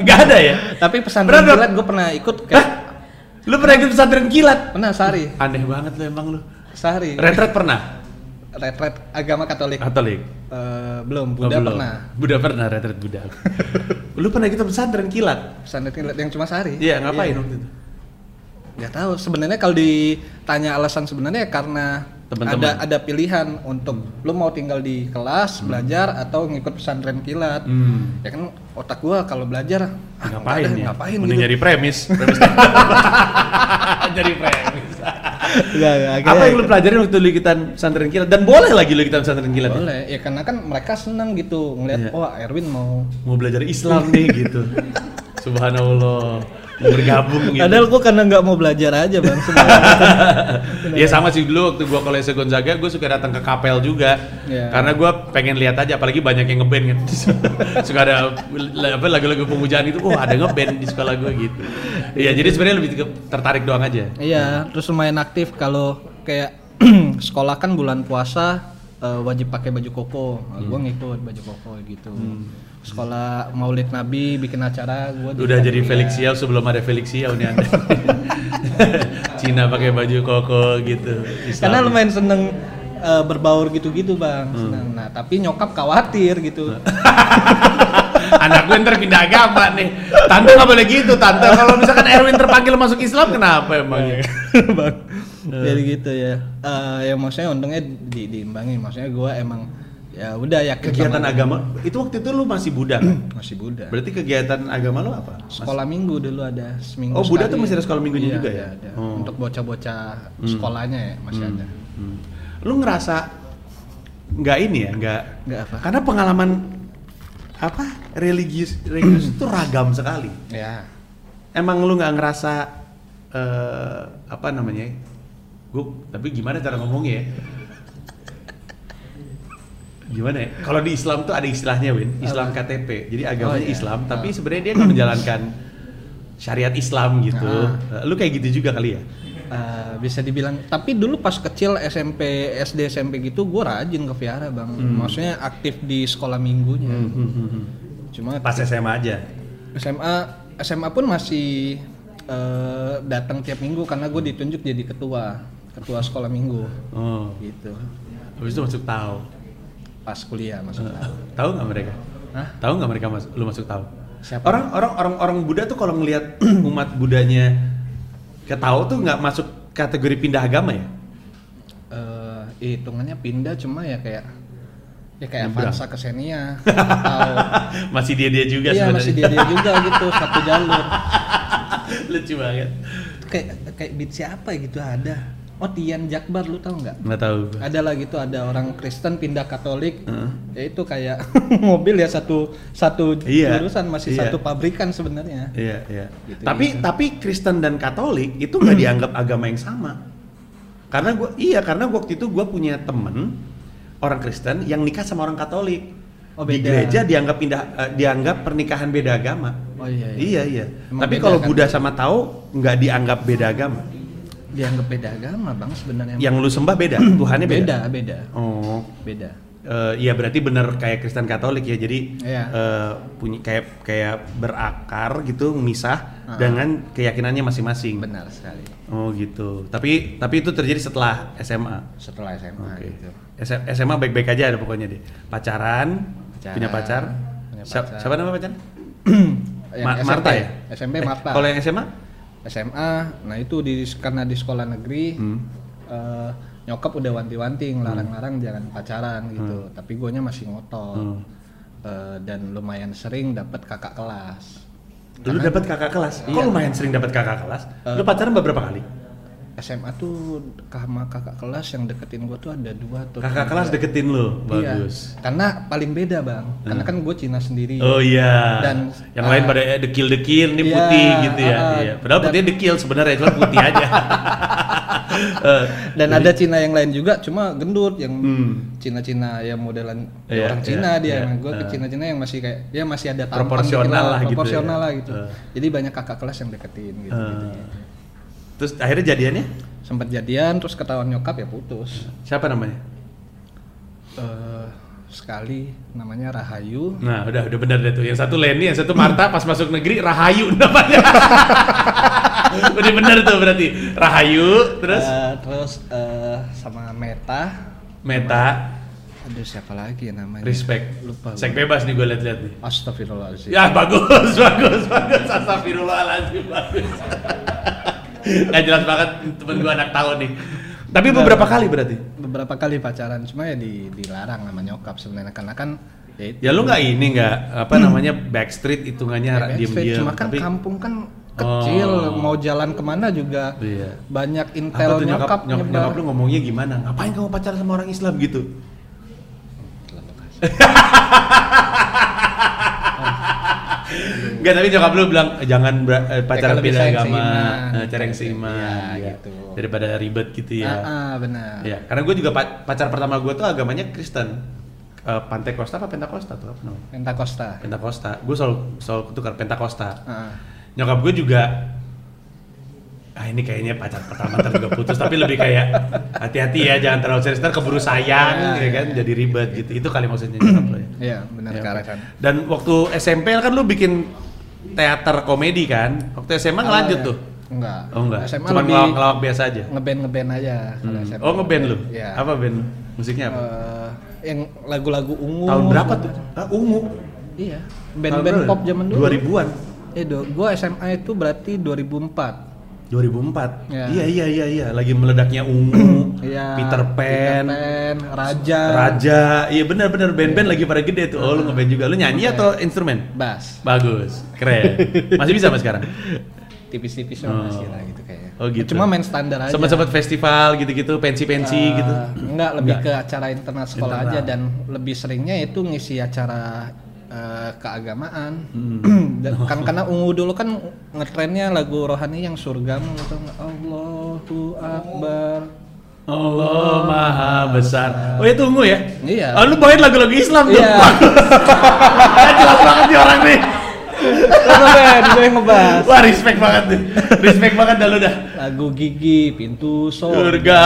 Speaker 2: Nggak ada ya?
Speaker 1: tapi pesan
Speaker 2: Berat dong.
Speaker 1: bulat gue pernah ikut kayak
Speaker 2: Lu pernah ikut pesantren kilat?
Speaker 1: pernah sehari
Speaker 2: Aneh banget lu emang lu.
Speaker 1: sehari
Speaker 2: Retret pernah?
Speaker 1: retret agama Katolik
Speaker 2: Katolik.
Speaker 1: Eh, belum
Speaker 2: Oh,
Speaker 1: Buddha
Speaker 2: belum.
Speaker 1: pernah
Speaker 2: Buddha pernah retret Buddha. lu pernah ikut pesantren kilat?
Speaker 1: pesan yang cuma sehari
Speaker 2: Iya, ngapain waktu itu?
Speaker 1: nggak tahu sebenarnya kalau ditanya alasan sebenarnya karena
Speaker 2: Teman-teman.
Speaker 1: ada ada pilihan untuk lu mau tinggal di kelas belajar atau ngikut pesantren kilat
Speaker 2: Hmm.
Speaker 1: ya kan otak gua kalau belajar ah,
Speaker 2: Ngapain
Speaker 1: nggak ada,
Speaker 2: ya?
Speaker 1: ngapain
Speaker 2: Mending
Speaker 1: gitu
Speaker 2: nyari premis. Premis. Jadi premis.
Speaker 1: Nggak, nggak,
Speaker 2: Apa
Speaker 1: akhirnya
Speaker 2: yang lu pelajarin waktu lu ikutan pesantren kilat? Dan boleh lagi lu ikutan pesantren kilat? ya?
Speaker 1: boleh ya karena kan mereka senang gitu ngelihat
Speaker 2: Iya.
Speaker 1: wah Erwin mau
Speaker 2: Mau belajar Islam nih gitu. Subhanallah. Mau bergabung gitu.
Speaker 1: padahal gua karena nggak mau belajar aja bang sebenarnya
Speaker 2: Ya sama sih dulu waktu gua kalau SC Gonzaga gua suka datang ke kapel juga.
Speaker 1: Iya.
Speaker 2: Karena gua pengen lihat aja apalagi banyak yang ngeband kan. suka ada la- apa lagu-lagu pemujaan itu, oh ada ngeband di sekolah gua gitu. Iya, jadi sebenarnya lebih ke- tertarik doang aja.
Speaker 1: Iya, terus lumayan aktif kalau kayak sekolah kan bulan puasa eh, wajib pakai baju koko. Nah, Gua
Speaker 2: Hmm.
Speaker 1: ngikut baju koko gitu. Sekolah Maulid Nabi bikin acara, gua di-
Speaker 2: Udah jadi Felix Yao sebelum ada Felix Yao nih Anda. Cina pakai baju koko gitu.
Speaker 1: Karena
Speaker 2: Islam.
Speaker 1: lumayan seneng eh, berbaur gitu-gitu, Bang. Seneng.
Speaker 2: Hmm.
Speaker 1: Nah, tapi nyokap khawatir
Speaker 2: Nah.
Speaker 1: gitu.
Speaker 2: Anak gue ntar pindah agama nih. Tante nggak boleh gitu, tante. Kalau misalkan Erwin terpanggil masuk Islam kenapa emangnya?
Speaker 1: Iya. bang Eh, jadi gitu ya Eh ya maksudnya untungnya di, diimbangin maksudnya gua emang ya udah ya
Speaker 2: Kegiatan agama itu waktu itu lu masih Buddha kan?
Speaker 1: masih Buddha
Speaker 2: Berarti kegiatan agama lu apa? Mas?
Speaker 1: sekolah minggu dulu ada seminggu
Speaker 2: Oh, Buddha
Speaker 1: sekali.
Speaker 2: tuh masih ada sekolah minggunya
Speaker 1: Iya,
Speaker 2: juga
Speaker 1: ada,
Speaker 2: ya?
Speaker 1: ada.
Speaker 2: Oh.
Speaker 1: untuk bocah-bocah sekolahnya ya masih ada
Speaker 2: Hmm. Lu ngerasa nggak ini ya, nggak
Speaker 1: nggak apa
Speaker 2: karena pengalaman apa religius religius itu ragam sekali.
Speaker 1: ya
Speaker 2: Emang lu nggak ngerasa eh, apa namanya? Gue tapi gimana cara ngomongnya ya? Gimana ya? Kalau di Islam tuh ada istilahnya, Win. Islam KTP. Jadi agamanya
Speaker 1: Oh, iya.
Speaker 2: Islam, tapi sebenarnya dia nggak menjalankan syariat Islam gitu.
Speaker 1: Ah.
Speaker 2: Lu kayak gitu juga kali ya?
Speaker 1: Eh, bisa dibilang tapi dulu pas kecil SMP SD SMP gitu gue rajin ke Viara bang
Speaker 2: Hmm.
Speaker 1: maksudnya aktif di sekolah minggunya hmm, cuma
Speaker 2: Pas SMA aja.
Speaker 1: SMA SMA pun masih eh, datang tiap minggu karena gue ditunjuk jadi ketua ketua sekolah minggu
Speaker 2: Oh.
Speaker 1: gitu
Speaker 2: Habis itu masuk tahu.
Speaker 1: pas kuliah
Speaker 2: Ah.
Speaker 1: maksudnya
Speaker 2: Tahu nggak mereka?
Speaker 1: Hah?
Speaker 2: Tahu nggak mereka mas lu masuk tahu?
Speaker 1: Siapa?
Speaker 2: Orang orang orang orang Buddha tuh kalau ngelihat umat Budanya ke tahu tuh nggak masuk kategori pindah agama ya?
Speaker 1: eh hitungannya pindah cuma ya kayak ya kayak
Speaker 2: Nyebrang.
Speaker 1: Avanza ke Xenia atau
Speaker 2: masih dia dia juga
Speaker 1: iya
Speaker 2: sebenarnya.
Speaker 1: masih dia dia juga gitu satu jalur
Speaker 2: Lucu banget.
Speaker 1: kayak kayak beat siapa ya gitu ada oh Tian Jakbar lu tau nggak
Speaker 2: Nggak tahu. gua.
Speaker 1: ada lah gitu ada orang Kristen pindah Katolik
Speaker 2: Heeh.
Speaker 1: ya itu kayak mobil ya satu satu
Speaker 2: Iya,
Speaker 1: jurusan masih
Speaker 2: iya.
Speaker 1: satu pabrikan sebenarnya
Speaker 2: Iya iya.
Speaker 1: Gitu,
Speaker 2: tapi tapi Kristen dan Katolik itu nggak dianggap agama yang sama. Karena gua iya karena waktu itu gua punya temen orang Kristen yang nikah sama orang Katolik.
Speaker 1: Oh,
Speaker 2: Di
Speaker 1: beda.
Speaker 2: gereja dianggap pindah eh, dianggap pernikahan beda agama.
Speaker 1: Oh, iya, iya.
Speaker 2: Iya iya.
Speaker 1: Emang
Speaker 2: tapi
Speaker 1: beda,
Speaker 2: kalau
Speaker 1: kan?
Speaker 2: Buddha sama Tao nggak dianggap beda agama.
Speaker 1: dianggap beda agama bang sebenarnya
Speaker 2: Yang lu sembah beda, Tuhannya Iya, beda.
Speaker 1: beda beda
Speaker 2: Oh.
Speaker 1: beda
Speaker 2: Eh, iya berarti bener kayak Kristen Katolik ya jadi
Speaker 1: Iya.
Speaker 2: eh, punya kayak kayak berakar gitu misah
Speaker 1: Ah.
Speaker 2: dengan keyakinannya masing-masing.
Speaker 1: benar sekali
Speaker 2: Oh gitu. Tapi tapi itu terjadi setelah SMA.
Speaker 1: setelah SMA
Speaker 2: Oke.
Speaker 1: gitu
Speaker 2: S- SMA baik-baik aja ada pokoknya deh. Pacaran,
Speaker 1: Pacaran,
Speaker 2: punya pacar.
Speaker 1: punya
Speaker 2: Siap-
Speaker 1: pacar.
Speaker 2: Siapa nama pacar?
Speaker 1: Yang
Speaker 2: Ma-
Speaker 1: SMP,
Speaker 2: Marta ya?
Speaker 1: SMP
Speaker 2: Eh,
Speaker 1: Marta
Speaker 2: Kalau yang SMA?
Speaker 1: SMA nah itu di karena di sekolah negeri
Speaker 2: Hmm.
Speaker 1: eh, nyokap udah wanti-wanti ngelarang-larang jangan pacaran gitu tapi guanya masih ngotot
Speaker 2: Hmm.
Speaker 1: Eh, dan lumayan sering dapat kakak kelas
Speaker 2: Lu dapat kakak kelas. Kok
Speaker 1: Iya.
Speaker 2: lumayan sering dapat kakak kelas? Lu
Speaker 1: Eh.
Speaker 2: pacaran beberapa kali?
Speaker 1: SMA tuh sama kakak kelas yang deketin gua tuh ada dua tuh
Speaker 2: Kakak kelas deketin lu.
Speaker 1: Iya.
Speaker 2: Bagus. Hmm.
Speaker 1: karena paling beda bang karena kan gue Cina sendiri
Speaker 2: Oh iya.
Speaker 1: Dan,
Speaker 2: yang lain
Speaker 1: ah,
Speaker 2: pada eh, dekil-dekil, ini
Speaker 1: iya,
Speaker 2: putih gitu ya.
Speaker 1: ah,
Speaker 2: iya. Padahal
Speaker 1: dan-
Speaker 2: putihnya dekil sebenarnya, cuma putih aja. Eh,
Speaker 1: dan ada Cina yang lain juga cuma gendut yang
Speaker 2: Hmm.
Speaker 1: Cina-Cina ya modelan ya
Speaker 2: Iya,
Speaker 1: orang
Speaker 2: iya,
Speaker 1: Cina dia
Speaker 2: iya.
Speaker 1: emang gue ke
Speaker 2: Eh.
Speaker 1: Cina-Cina yang masih kayak dia masih ada tampang
Speaker 2: Proporsional
Speaker 1: dikit
Speaker 2: lah gitu
Speaker 1: proporsional
Speaker 2: ya.
Speaker 1: lah gitu
Speaker 2: Eh.
Speaker 1: jadi banyak kakak kelas yang deketin gitu, gitu.
Speaker 2: eh. Terus akhirnya jadiannya?
Speaker 1: sempat jadian terus ketahuan nyokap ya putus
Speaker 2: Siapa namanya? Ah.
Speaker 1: Eh, sekali namanya Rahayu
Speaker 2: Nah, udah udah benar deh tuh. Yang satu Leni, yang satu Marta pas masuk negeri Rahayu namanya. udah benar tuh berarti. Rahayu, terus
Speaker 1: Eh, terus eh, sama Meta
Speaker 2: Meta,
Speaker 1: aduh siapa lagi ya namanya
Speaker 2: Respect.
Speaker 1: lupa
Speaker 2: Sek
Speaker 1: gua.
Speaker 2: bebas nih gue liat-liat nih.
Speaker 1: Astagfirullahaladzim
Speaker 2: Ya bagus, bagus, bagus. Astagfirullahaladzim, bagus. Gak jelas banget temen gue anak tahun nih. Tapi beberapa kali berarti.
Speaker 1: beberapa kali pacaran cuma ya di- dilarang sama nyokap sebenarnya karena kan ya itu
Speaker 2: Ya lu nggak ini nggak apa namanya backstreet hitungannya
Speaker 1: Hmm. Backstreet.
Speaker 2: Ya, diem-diem.
Speaker 1: cuma kan
Speaker 2: tapi
Speaker 1: kampung kan kecil
Speaker 2: Oh.
Speaker 1: mau jalan kemana juga
Speaker 2: Iya.
Speaker 1: banyak
Speaker 2: apa
Speaker 1: intel nyokap,
Speaker 2: tuh nyokap, nyokap,
Speaker 1: nyebar.
Speaker 2: nyokap lu ngomongnya gimana? Ngapain kamu pacaran sama orang Islam gitu?
Speaker 1: Ah,
Speaker 2: Enggak, tapi nyokap lu bilang jangan ber- eh,
Speaker 1: Ya,
Speaker 2: pacaran
Speaker 1: kalau bisa
Speaker 2: beda
Speaker 1: yang
Speaker 2: agama,
Speaker 1: seiman.
Speaker 2: eh, cari yang seiman,
Speaker 1: Iya,
Speaker 2: ya.
Speaker 1: gitu.
Speaker 2: daripada ribet gitu ya.
Speaker 1: ah, ah, benar
Speaker 2: Ya, karena gue juga pa- pacar pertama gue tuh agamanya Kristen. Eh, Pantekosta apa Pentakosta tuh apa namanya?
Speaker 1: Pentakosta
Speaker 2: Pentakosta. Gue selalu selalu ketukar Pentakosta.
Speaker 1: Ah, ah.
Speaker 2: Nyokap gue juga ah ini kayaknya pacar pertama ntar juga putus tapi lebih kayak hati-hati ya jangan terlalu serius ntar keburu
Speaker 1: Ya,
Speaker 2: sayang ya
Speaker 1: ya,
Speaker 2: kan jadi ribet gitu. Itu kali maksudnya nyokap lo ya.
Speaker 1: iya benar
Speaker 2: Ya,
Speaker 1: ke arah
Speaker 2: oke.
Speaker 1: sana.
Speaker 2: Dan waktu SMP kan lu bikin teater komedi kan? Waktu SMA
Speaker 1: Ah,
Speaker 2: ngelanjut
Speaker 1: Awalnya.
Speaker 2: tuh.
Speaker 1: iya. enggak
Speaker 2: Oh enggak.
Speaker 1: SMA
Speaker 2: Cuma
Speaker 1: lebih
Speaker 2: ngelawak-ngelawak biasa aja.
Speaker 1: ngeband ngeband aja kalau
Speaker 2: Hmm.
Speaker 1: SMA.
Speaker 2: Oh ngeband lu?
Speaker 1: Iya.
Speaker 2: Apa band? lu? Musiknya apa?
Speaker 1: Eh, yang lagu-lagu ungu
Speaker 2: Tahun berapa tuh? Ah, ungu.
Speaker 1: iya
Speaker 2: Tahun
Speaker 1: band-band
Speaker 2: berapa?
Speaker 1: pop zaman dulu
Speaker 2: 2000-an.
Speaker 1: Eh, do, gua SMA itu berarti 2004.
Speaker 2: 2004.
Speaker 1: Ya.
Speaker 2: Iya iya iya iya, lagi meledaknya ungu,
Speaker 1: Iya.
Speaker 2: Peter Pan,
Speaker 1: Pen, Raja,
Speaker 2: Raja. Iya benar benar band-band lagi pada gede tuh. Oh, lu ngeband juga. Lu nyanyi
Speaker 1: Iya.
Speaker 2: atau instrumen?
Speaker 1: Bass.
Speaker 2: Bagus, keren. Masih bisa mas sekarang?
Speaker 1: Tipis-tipisnya
Speaker 2: Oh.
Speaker 1: masih lah gitu kayaknya.
Speaker 2: Oh, gitu.
Speaker 1: Cuma main standar aja.
Speaker 2: Sempat-sempat festival gitu-gitu, pensi-pensi
Speaker 1: Eh,
Speaker 2: gitu.
Speaker 1: Enggak, lebih
Speaker 2: Enggak.
Speaker 1: ke acara internal sekolah
Speaker 2: Internal.
Speaker 1: aja dan lebih seringnya itu ngisi acara eh, keagamaan.
Speaker 2: Hmm.
Speaker 1: Dan- kan
Speaker 2: Oh.
Speaker 1: karena ungu dulu kan ngetrennya lagu rohani yang surgamu itu Allahu Akbar.
Speaker 2: Allah Maha Besar. Oh itu ungu ya?
Speaker 1: Iya.
Speaker 2: Oh lu bawain lagu-lagu Islam tuh?
Speaker 1: Iya.
Speaker 2: Wah, Jelas banget nih orang nih.
Speaker 1: Karena band, gue yang ngebahas.
Speaker 2: Wah respect banget nih. Respect banget dah lu dah.
Speaker 1: Lagu gigi, pintu surga.
Speaker 2: Surga,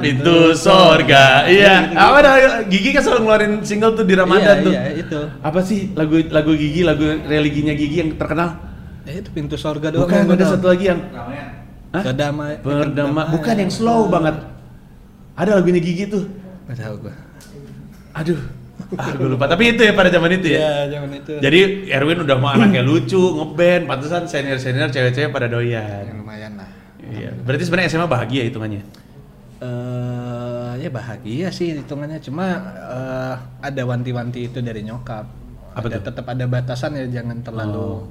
Speaker 2: pintu sorga. Iya. Apa dah Gigi kan selalu ngeluarin single tuh di Ramadan
Speaker 1: iya,
Speaker 2: tuh.
Speaker 1: Iya, itu.
Speaker 2: Apa sih lagu lagu Gigi, lagu religinya Gigi yang terkenal?
Speaker 1: Eh, itu pintu surga doang.
Speaker 2: Bukan
Speaker 1: yang gue
Speaker 2: ada
Speaker 1: tahu. eh,
Speaker 2: satu lagi yang Hah?
Speaker 1: Kedamai-
Speaker 2: Berdama,
Speaker 1: kedamaian.
Speaker 2: bukan yang slow banget. Ada lagunya Gigi tuh.
Speaker 1: Nggak tahu gue.
Speaker 2: Aduh, ah, gue lupa. Tapi itu ya pada zaman itu ya.
Speaker 1: Iya, zaman itu.
Speaker 2: Jadi Erwin udah mau anaknya lucu, ngeband, pantesan senior-senior cewek-cewek
Speaker 1: Yang
Speaker 2: pada doyan.
Speaker 1: lumayan lah.
Speaker 2: Iya. Berarti sebenarnya SMA bahagia hitungannya.
Speaker 1: eh ya bahagia sih hitungannya cuma eh, ada wanti-wanti itu dari nyokap.
Speaker 2: Apa
Speaker 1: ada
Speaker 2: tuh? Oh.
Speaker 1: tetap ada batasan ya jangan terlalu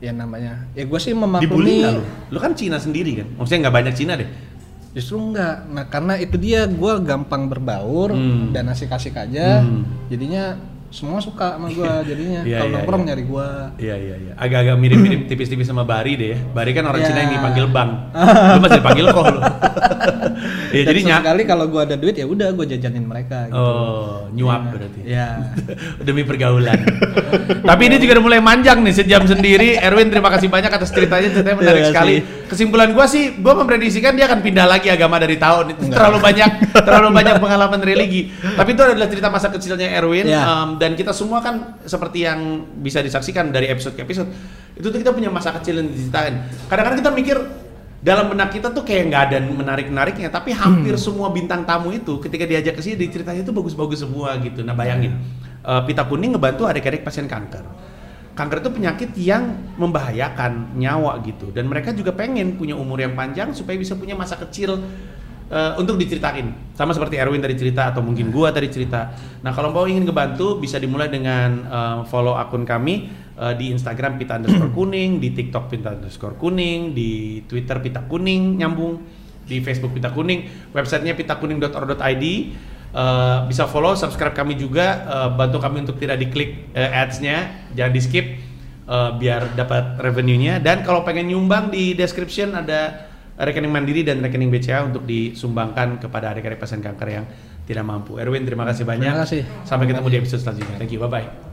Speaker 1: ya namanya. Ya gue sih
Speaker 2: Dibully nggak lu?
Speaker 1: memaklumi
Speaker 2: Lu kan Cina sendiri kan? Maksudnya nggak banyak Cina deh.
Speaker 1: justru enggak. Nah, karena itu dia gue gampang berbaur
Speaker 2: Hmm.
Speaker 1: dan asik-asik aja.
Speaker 2: Hmm.
Speaker 1: Jadinya semua suka sama gue jadinya.
Speaker 2: Iya,
Speaker 1: Kalau
Speaker 2: iya,
Speaker 1: nongkrong
Speaker 2: iya.
Speaker 1: nyari gue.
Speaker 2: Iya iya iya. Agak-agak mirip-mirip tipis-tipis sama Bari deh ya. Bari kan
Speaker 1: Iya.
Speaker 2: orang Cina yang dipanggil Bang. lu masih dipanggil kok lu. Iya jadi nyak.
Speaker 1: kali kalau gue ada duit ya udah gue jajanin mereka gitu.
Speaker 2: Oh, nyuap berarti.
Speaker 1: Ya.
Speaker 2: demi pergaulan. Tapi ini juga udah mulai manjang nih sejam sendiri. Erwin terima kasih banyak atas ceritanya, ceritanya menarik
Speaker 1: Terima kasih.
Speaker 2: sekali. Kesimpulan gua sih, gua memprediksikan dia akan pindah lagi agama dari tahun itu terlalu banyak terlalu banyak pengalaman religi. Tapi itu adalah cerita masa kecilnya Erwin
Speaker 1: Iya.
Speaker 2: Em, dan kita semua kan seperti yang bisa disaksikan dari episode ke episode itu tuh kita punya masa kecil yang diceritain. Kadang-kadang kita mikir dalam benak kita tuh kayak nggak ada menarik-nariknya, tapi hampir semua bintang tamu itu ketika diajak ke sini diceritanya itu bagus-bagus semua gitu. Nah bayangin, eh, pita kuning ngebantu adik-adik pasien kanker. Kanker itu penyakit yang membahayakan nyawa gitu, dan mereka juga pengen punya umur yang panjang supaya bisa punya masa kecil eh, untuk diceritain. Sama seperti Erwin tadi cerita atau mungkin gua tadi cerita. Nah kalau mau ingin ngebantu bisa dimulai dengan eh, follow akun kami eh, di Instagram pita underscore kuning, di TikTok pita underscore kuning, di Twitter pita kuning nyambung di Facebook Pita Kuning, websitenya pitakuning.or.id. Eh, bisa follow, subscribe kami juga, eh, bantu kami untuk tidak diklik eh, ads-nya, jangan di skip eh, biar dapat revenue-nya. Dan kalau pengen nyumbang di description ada rekening Mandiri dan rekening BCA untuk disumbangkan kepada adik-adik pasien kanker yang tidak mampu. Erwin, terima kasih banyak.
Speaker 1: Terima kasih.
Speaker 2: Sampai ketemu di episode selanjutnya. Thank you, bye-bye.